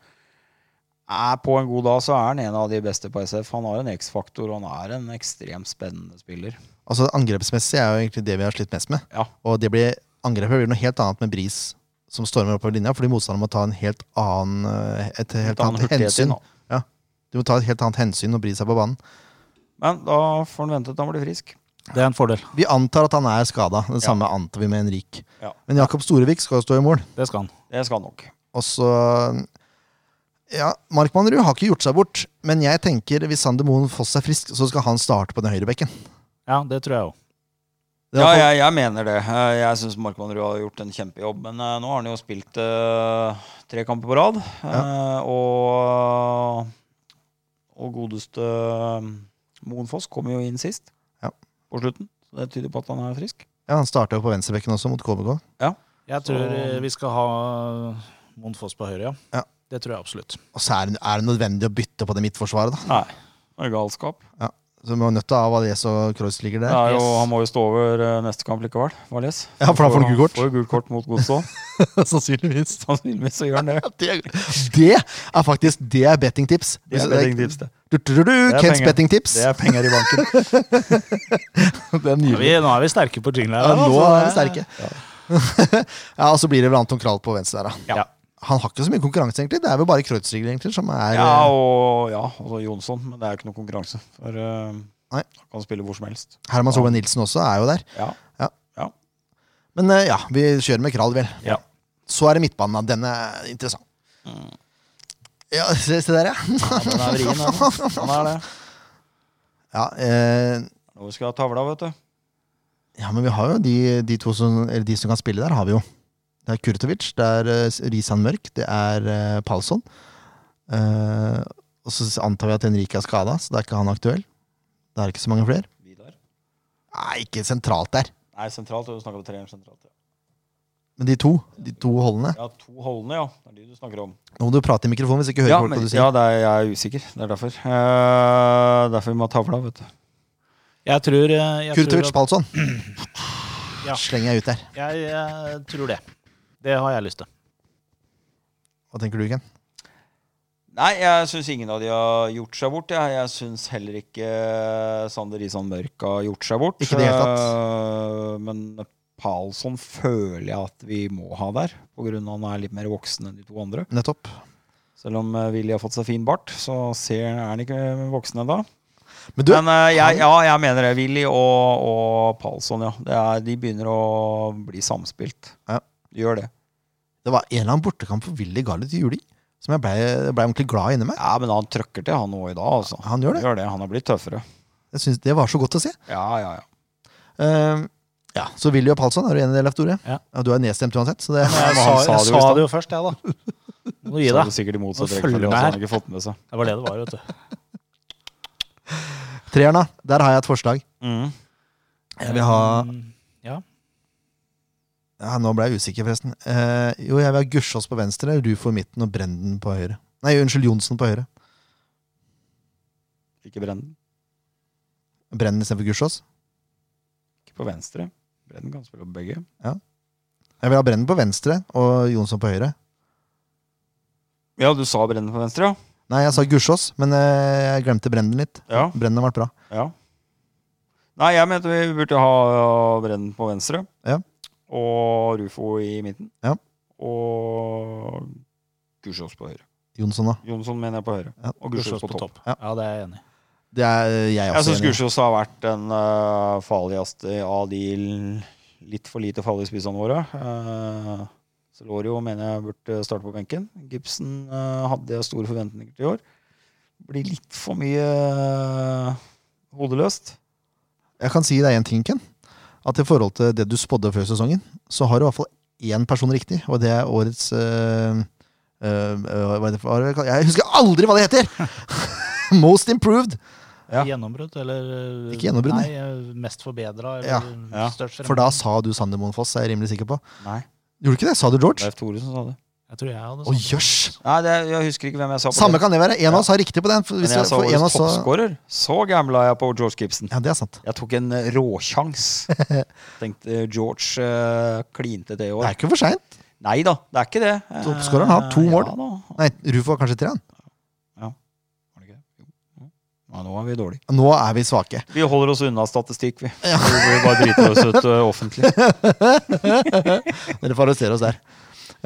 er På en god dag så er han en av de beste på SF. Han har en X-faktor, og han er en ekstremt spennende spiller.
altså Angrepsmessig er jo egentlig det vi har slitt mest med.
Ja.
Og det blir, angrepet blir noe helt annet med Bris som stormer oppover linja, fordi motstanderen må ta en helt annen, eh, et helt
Han
annet
hurtighet
hensyn.
inn, da.
Du må ta et helt annet hensyn når Bris er på banen.
Men da får han vente til han blir frisk.
Det er en fordel.
Vi antar at han er skada. Det
Ja.
samme antar vi med Henrik.
Ja.
Men Jakob Storevik skal jo stå i mål.
Det skal han.
Det skal han nok.
Og så Ja, Mark Mannerud har ikke gjort seg bort, men jeg tenker hvis Sander Moen Foss er frisk, så skal han starte på den høyrebekken.
Ja, det tror jeg òg.
Det er
Ja,
i hvert fall-
jeg, jeg mener det. Eh, Jeg syns Markmann Ruud har gjort en kjempejobb. Men eh, nå har han jo spilt eh, tre kamper på rad. Eh, og, og godeste eh, Moen Foss kom jo inn sist,
Ja.
på slutten. Så det tyder på at han er frisk.
ja, Han starta jo på venstrebekken også, mot KBK.
Jeg tror
Så-
eh, vi skal ha Monfoss på høyre, ja.
Ja.
Det tror jeg absolutt.
Og så er det, er det nødvendig å bytte på det midtforsvaret, da.
Nei, det er galskap.
Så vi er nødt til å ha Valles og Croix ligger
Det
der.
er jo,
yes.
han må jo stå over eh, neste kamp likevel, Valles.
Ja, for da får han gult kort.
Får jo gult kort mot Godstad.
Sannsynligvis.
Sannsynligvis så gjør han det.
Det, det er faktisk Det er bettingtips.
Det er bettingtips, det.
Du, du, du, du,
Det er
Kents
penger.
bettingtips.
Det er penger i banken.
Det er
Ja,
nydelig.
vi, nå er vi sterke på jingler.
Ja, nå
altså.
er vi sterke. Ja. og så blir det vel Anton Krall på venstre der, da.
Ja.
Han har ikke så mye konkurranse, egentlig. Det er vel bare Kreutzrigger egentlig som er
Ja,
eh,
og ja, altså Jonsson. Men det er jo ikke noe konkurranse. For eh,
Nei.
han kan spille hvor som helst.
Herman Solveig Nilsen også er jo der.
Ja.
Men eh, ja, vi kjører med Krall, vel.
Ja. Mm.
Så er det midtbanen, da. Den er interessant. Ja, se, se der, ja.
Den er vrien, den. Den er det.
ja, eh,
Nå skal jeg ha tavla, vet du.
ja, men vi har jo de, de to som Eller de som kan spille der, har vi jo. Det er Kurtovic, det er eh, Risan Mørk, det er eh, Palsson. Eh, og så antar vi at Henrik er skada, så da er ikke han aktuell. Det er ikke så mange flere.
Vidar.
Nei, ikke sentralt der.
Nei, sentralt. Du snakker om treeren sentralt. Ja.
Men de to de to holdene.
ja, to holdene, ja. Det er de du snakker om.
Nå må du prate i mikrofonen hvis ikke hører
Ja,
folk
men,
hva du
ja
sier.
det er, jeg er usikker. Det er derfor. Eh, derfor vi må ha tavla, vet du.
Jeg tror, eh, jeg
Kurtovic
tror at-
Palsson.
Ja.
Slenger jeg ut der.
Jeg, eh, tror det. Det har jeg lyst til.
Hva tenker du, Ken?
Nei, jeg syns ingen av de har gjort seg bort. Jeg, jeg syns heller ikke Sander Risan Mørk har gjort seg bort.
Ikke i det hele
Eh, men Palsson føler jeg at vi må ha der, pga. han er litt mer voksen enn de to andre.
Nettopp.
Selv om eh, Willy har fått seg fin bart, så ser, er han ikke voksen ennå.
Men du,
Men eh, jeg, ja, jeg mener det. Willy og, og Palsson, ja. Det er, de begynner å bli samspilt.
Ja.
De Gjør det.
det var en eller annen bortekamp for Willy Garlett i juling som jeg ble, ble ordentlig glad i inni meg.
Ja, men han trøkker til, han nå i dag, altså.
Han gjør det.
Han har blitt tøffere.
Jeg synes Det var så godt å se.
Ja, ja, ja.
Ehm, ja, Så Willy og Palsson, er du enig i det, Leif Tore?
Ja.
Du er nedstemt uansett. Så det,
Jeg
men
sa,
han sa det
jeg
jo i
sa
stad.
det jo først, jeg, da. Må du gi
Så er
deg.
det sikkert i motsatt
Nå
rekkefølge.
følger
også,
det her.
Han har ikke fått med seg.
Det var det det var, vet du.
Treeren, da. Der har jeg et forslag. Jeg vil ha
Mm,
ja, Nå ble jeg usikker, forresten. Eh, jo, jeg vil ha Gussiås på venstre, Rufo i midten og Brenden på høyre. Nei, unnskyld, Johnsen på høyre.
Ikke Brenden.
Brenden istedenfor Gussiås.
Ikke på venstre. Brenden kan spille på begge.
Jeg vil ha Brennen på venstre og Jonsson på høyre.
Ja, du sa Brenden på venstre, ja.
Nei, jeg sa Gussiås, men eh, jeg glemte Brennen litt.
Ja.
Brennen har vært bra.
Ja. Nei, jeg mente vi burde ha Brennen på venstre.
Ja.
Og Rufo i midten.
Ja.
Og Gussiås på høyre.
Jonsson, da.
Jonsson mener jeg på høyre.
Ja.
Og
Gussiås
Gussiås på topp.
Ja.
Ja, det er jeg enig i.
Det er eh, jeg
Jeg
også
syns
enig i.
Gussiås har vært den eh, farligste av de l- litt for lite farlige spissene våre. Eh, Så Lorio mener jeg burde starte på benken. Gibson eh, hadde jeg store forventninger til i år. Blir litt for mye eh, hodeløst.
Jeg kan si deg en ting, Ken. At i forhold til det du spådde før sesongen, så har du i hvert fall én person riktig, og det er årets øh, øh, hva er det for- hva er det, kall- Jeg husker aldri hva det heter! Most improved!
Ja.
Gjennombrudd, eller
Ikke gjennombrudd, nei.
Nei, eh, mest forbedra, eller
Ja.
Ja.
størst
For da
fremgang.
sa du Sander Moen Foss, er jeg rimelig sikker på.
Nei,
Gjorde du ikke det? Sa du George?
Leif Tore som sa det.
Jeg tror jeg hadde
Å, jøss!
Nei, det, jeg husker ikke hvem jeg sa på
Samme
det.
kan det være. En av oss har riktig på den. For
Men
hvis
jeg
jeg
sa
for en av
årets
oss så-
toppskårer. Så gambla jeg på George Gibson.
Ja, det er sant.
Jeg tok en eh, råsjans. Tenkte eh, George eh, klinte det
Det
i år.
er ikke for seint.
Nei da, det er ikke det. Eh,
Toppskåreren har to mål.
Ja, da.
Nei, Rufo har kanskje tre. han.
Var det ikke det? Jo. Jo. Ja, nå er vi dårlige.
Nå er vi svake.
Vi holder oss unna statistikk, vi. Vi blir bare driter oss ut eh, offentlig.
Dere får arrestere oss der.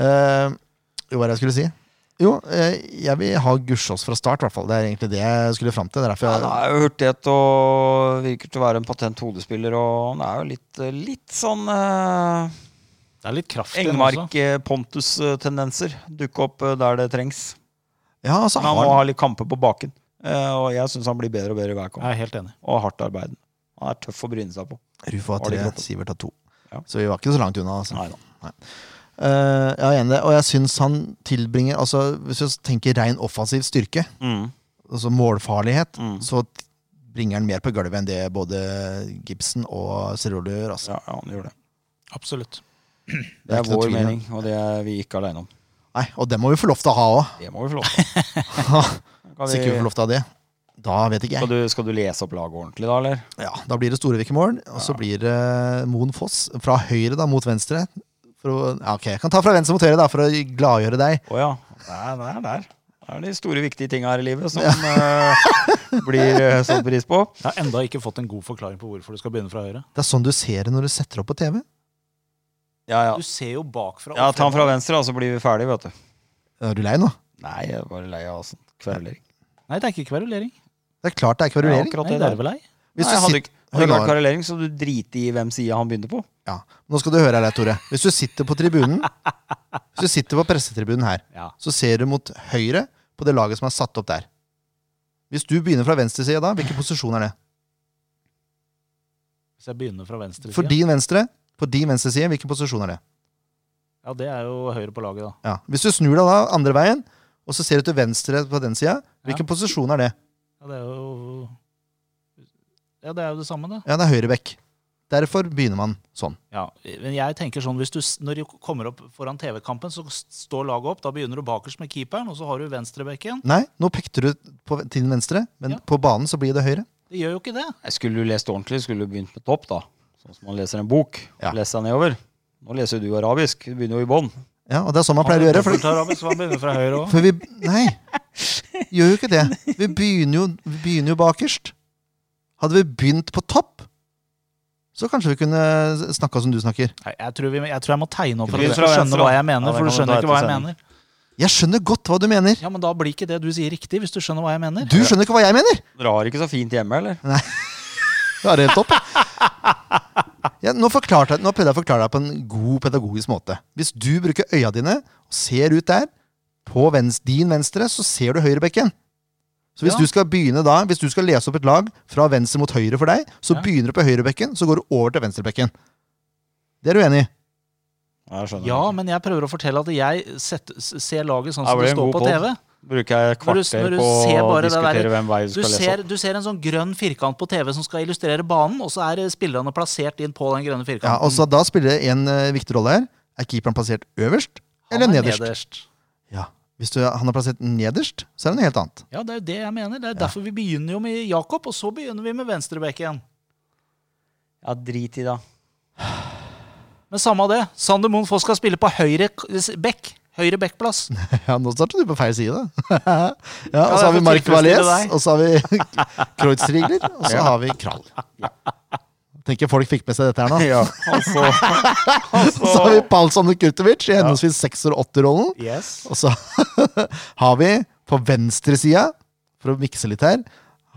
Eh, jo, hva er det jeg skulle si? Jo, eh, jeg vil ha Gussiås fra start, i hvert fall. Det er egentlig det jeg skulle fram til. Det er derfor
Ja,
jeg,
det er jo hurtighet og virker til å være en patent hodespiller, og han er jo litt, eh, litt sånn eh,
Det er litt kraft i den også.
Engmark eh, Pontus-tendenser. Dukke opp eh, der det trengs.
ja, altså,
Men han må
har,
ha litt kamper på baken. Eh, og jeg syns han blir bedre og bedre hver kamp.
Jeg er helt enig.
Og hardt arbeidende. Han er tøff å bryne seg på.
Rufo har
har de
tre,
klart det?
Sivert har to.
Ja.
Så vi var ikke så langt unna. Altså.
Neida.
Eh, jeg er enig i det, og jeg syns han tilbringer altså, Hvis vi tenker ren offensiv styrke, altså målfarlighet,
Mm.
så t- bringer han mer på gulvet enn det både Gibson og Cerullo gjør. Altså.
Ja, ja, han gjør det.
Absolutt.
Det er
ikke noe
vår
tvil om.
mening, og det er vi ikke alene om.
Nei, og det må vi få lov til å ha òg.
Det må vi få lov til. Kan vi-
Hvis ikke vi får lov til å ha det, da vet ikke jeg.
Skal du, skal du lese opp laget ordentlig, da, eller?
Ja, da blir det Storevik i morgen, og så blir det Moen Foss fra høyre da, mot venstre. For å, ja, ok, Jeg kan ta fra venstre mot høyre da, for å gladgjøre deg.
Å ja. Det er det er der. Det er de store, viktige tinga her i livet som eh, blir eh, satt pris på.
Jeg har enda ikke fått en god forklaring på hvorfor du skal begynne fra høyre.
Det er sånn du ser det når du setter opp på TV.
Ja, ja.
Du ser jo bakfra.
ja
og
ta den fra
fremover.
venstre, da, så blir vi ferdige, vet du.
Er du lei nå?
Nei, jeg er bare lei av sånn kverulering.
Nei, det er ikke kverulering.
Det er klart det er
Ja,
kverulering.
akkurat
Nei,
det
det er
der.
vel ei.
Hvis
Nei,
du
hadde
sitter,
ikke, hadde
Hør
ikke
nå.
vært kverulering, så du driter i hvem sida han begynte på.
ja. Nå skal du høre her, Tore. Hvis du sitter på tribunen Hvis du sitter på pressetribunen her,
Ja.
så ser du mot høyre på det laget som er satt opp der. Hvis du begynner fra venstre side da, hvilken posisjon er det?
Hvis jeg begynner fra venstre
For
side.
din venstre, på din venstre side, hvilken posisjon er det?
Ja, det er jo høyre på laget, da.
Ja. Hvis du snur deg da andre veien, og så ser du til venstre på den sida, hvilken posisjon er det?
Ja, det er jo Ja, det er jo det samme, det.
Ja, det er høyrebekk. Derfor begynner man sånn.
Ja, men jeg tenker sånn, hvis du, s- Når du kommer opp foran TV-kampen, så s- står laget opp. Da begynner du bakerst med keeperen, og så har du venstrebekken.
Nei, nå pekte du på, til den venstre, men
Ja.
på banen så blir det høyre.
Det gjør jo ikke det.
Jeg skulle du lest ordentlig, skulle du begynt på topp, da. Sånn som man leser en bok.
Ja.
Lest deg nedover. Nå leser du arabisk. Du begynner jo i bånn.
Ja, og det er sånn man pleier å gjøre. For,
Arabisk, så han begynner fra høyre også.
for vi Nei, gjør jo ikke det. Vi begynner jo, vi begynner jo bakerst. Hadde vi begynt på topp, så kanskje vi kunne snakka som du snakker.
Nei, jeg, tror vi, jeg tror jeg må tegne opp for
Begynn
at du
fra
skal skjønne
venstre,
hva
da.
jeg mener.
Ja,
for
det kan du
du sending.
ta
ikke hva jeg
etter sending.
mener.
Jeg skjønner godt hva du mener.
Ja, Men da blir ikke det du sier, riktig. hvis du skjønner hva jeg mener.
Du skjønner ikke hva jeg mener!
Dere har ikke så fint hjemme, eller?
Ja, det er helt topp. Ja, nå, forklarte, jeg- nå prøvde jeg å forklare deg på en god pedagogisk måte. Hvis du bruker øya dine og ser ut der, på vens- din venstre, så ser du høyrebekken. Så hvis
Ja.
du skal begynne da, hvis du skal lese opp et lag fra venstre mot høyre for deg, så
Ja.
begynner du på høyrebekken, så går du over til venstrebekken. Det er du enig i?
Ja, Jeg skjønner.
Ja, men jeg prøver å fortelle at jeg setter- s- ser laget sånn
Ja,
som
det
det
blir en
står
god
på
podd.
TV.
Bruker jeg et
Når du- når
kvarter
du
på
ser
å
bare det
diskutere
der-
hvem vei du
Du
skal lese
ser,
opp?
du ser en sånn grønn firkant på TV som skal illustrere banen, og så er eh, spillerne plassert inn på den grønne
Ja,
firkanten.
og så Da spiller det en eh, viktig rolle her. Er keeperen plassert øverst
Han
eller
er
nederst? Ja. Hvis du, han er plassert nederst, så er det noe helt annet.
Ja, det er jo det jeg mener. Det er derfor vi begynner jo med Jakob, og så begynner vi med venstrebekken.
Ja, drit i det.
Men samme av det. Sander Moen Foss skal spille på høyre k- s- bekk. Høyre bekkplass.
Ja, nå starter du på feil side. ja, og
jeg
så har vi
får
Mark
tilfredsstille
Valais,
deg.
og så har vi Kreutzrigler, og så har vi Krall. Tenker folk fikk med seg dette her nå.
Ja, altså,
Så har vi Palsson og Kurtovic i henholdsvis sekser- og åtterrollen.
Yes.
Og så har vi på venstre sida, for å mikse litt her,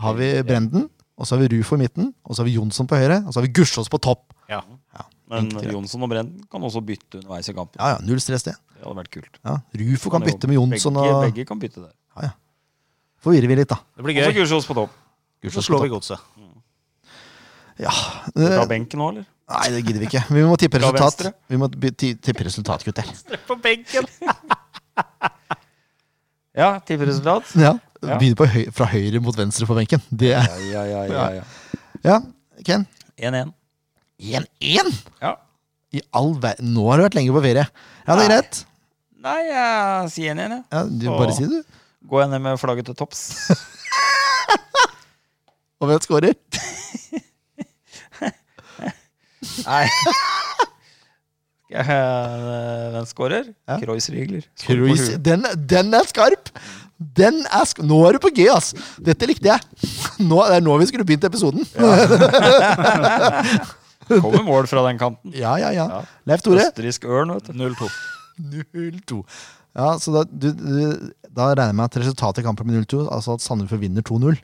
har vi Brenden. Og så har vi Rufo i midten, og så har vi Jonsson på høyre, og så har vi Gussiås på topp.
Ja.
Men
Enkelt, ja.
Jonsson og Brenn kan også bytte underveis i kampen.
Ja, ja, null stress det.
Det hadde vært kult.
Ja. Rufo kan bytte med Jonsson
begge,
og
begge kan bytte der.
Forvirrer vi litt, da.
Det blir
Og så
gøy.
Kursås på topp.
Så slår vi godset.
Skal du
Eh,
Ta benken nå, eller?
Nei, det gidder vi ikke. Vi må tippe
Fra
resultat.
venstre.
Vi må by- ti- tippe resultat, gutter.
På benken!
Ja, tipperesultat.
Ja.
Ja.
Begynne på høy fra høyre mot venstre på benken. Det er
Ja, ja, ja, ja, ja.
Ja, Ken.
1-1.
1-1!
Ja.
I all ver... Nå har du vært lenge på ferie. Ja, det er
Nei.
greit.
Nei, jeg sier 1-1, jeg.
Ja, du,
Åh.
bare si det, du.
Går jeg ned med flagget til topps?
Og hvem scorer?
Nei. Eh, Hvem scorer?
Ja.
Kreuzrigler.
Cruise. Den, den er skarp! Den er sk nå er du på G, ass! Dette likte jeg. Nå, det er nå vi skulle begynt episoden.
Kommer mål fra den kanten.
Ja, ja, ja.
Ja.
Leif Tore,
Østerriksk ørn, vet du.
0-2.
0-2. Ja, så da, du, du, da regner jeg med at resultatet i kampen blir 0-2, altså at Sandefjord vinner 2-0.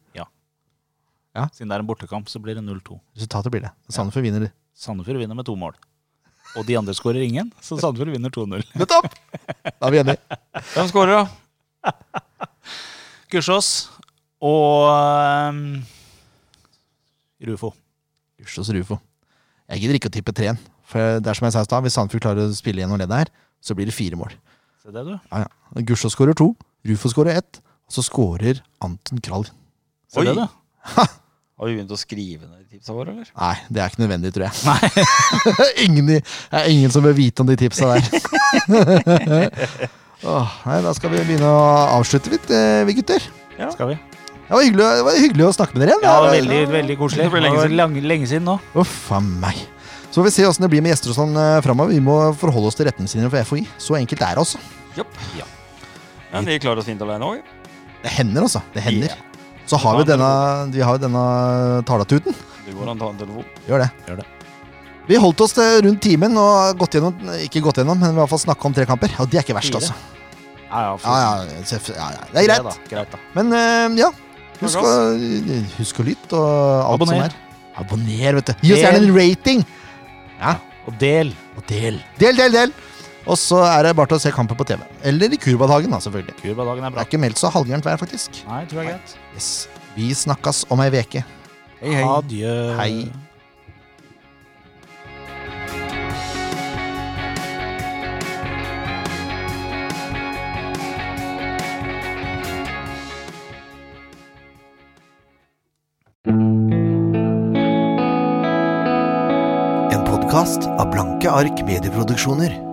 Siden det er en bortekamp, så blir det 0-2.
Resultatet blir det. Sandefjord vinner
Sandefjord vinner med to mål. Og de andre skårer ingen, så Sandefjord vinner 2-0.
Nettopp! Da er vi enige.
Hvem scorer, da?
Kursås og ehm, Rufo.
Usjås Rufo. Jeg gidder ikke å tippe 3-1. For det er som jeg sa i stad, hvis Sandefjord klarer å spille gjennom leddet her, så blir det fire mål.
Se det, du.
Ja, ja. Gusjå skårer to, Rufo skårer ett, og så skårer Anton Krall.
Se
Oi.
det, du.
Har vi begynt å skrive ned tipsa våre, eller?
Nei, det er ikke nødvendig, tror jeg. ingen, i- det er ingen som bør vite om de tipsa der. Åh, nei, da skal vi begynne å avslutte litt, eh, vi gutter.
Skal vi?
Det var hyggelig, det var hyggelig å snakke med dere igjen.
Ja,
Det er-
veldig, veldig koselig.
Det ble lenge
var
siden.
lang- lenge siden nå.
Uff a meg. Så får vi se åssen det blir med gjester og sånn eh, framover. Vi må forholde oss til retningslinjer for FHI. Så enkelt er det, altså.
Jopp. Men vi klarer oss fint alene òg.
Det hender, altså. Det hender. Så har vi denne, vi har jo denne talatuten.
Det går an å ta en telefon.
Gjør det.
Gjør det.
Vi holdt oss til rundt timen og har gått gjennom, ikke gått gjennom, men i hvert fall snakka om tre kamper. Og det er ikke verst,
Fire.
altså.
Ja,
Ja,
ja,
ja, ja, ja, det er greit.
da. greit da.
Men eh, ja, husk
Takk,
å, husk å lytte og alt
altså. Abonner.
som er. Abonner, vet du. Gi oss gjerne en rating.
Og del.
Og del. Del, del, del. Og så er det bare til å se kampen på TV. Eller i Kurbadhagen, da, selvfølgelig.
Kurbadagen er
Det
bra.
er ikke meldt så halvgærent vær, faktisk.
Nei, tror jeg er greit.
Yes. Vi snakkes om ei veke.
Adjø.
Hei.
En podkast av Blanke ark medieproduksjoner.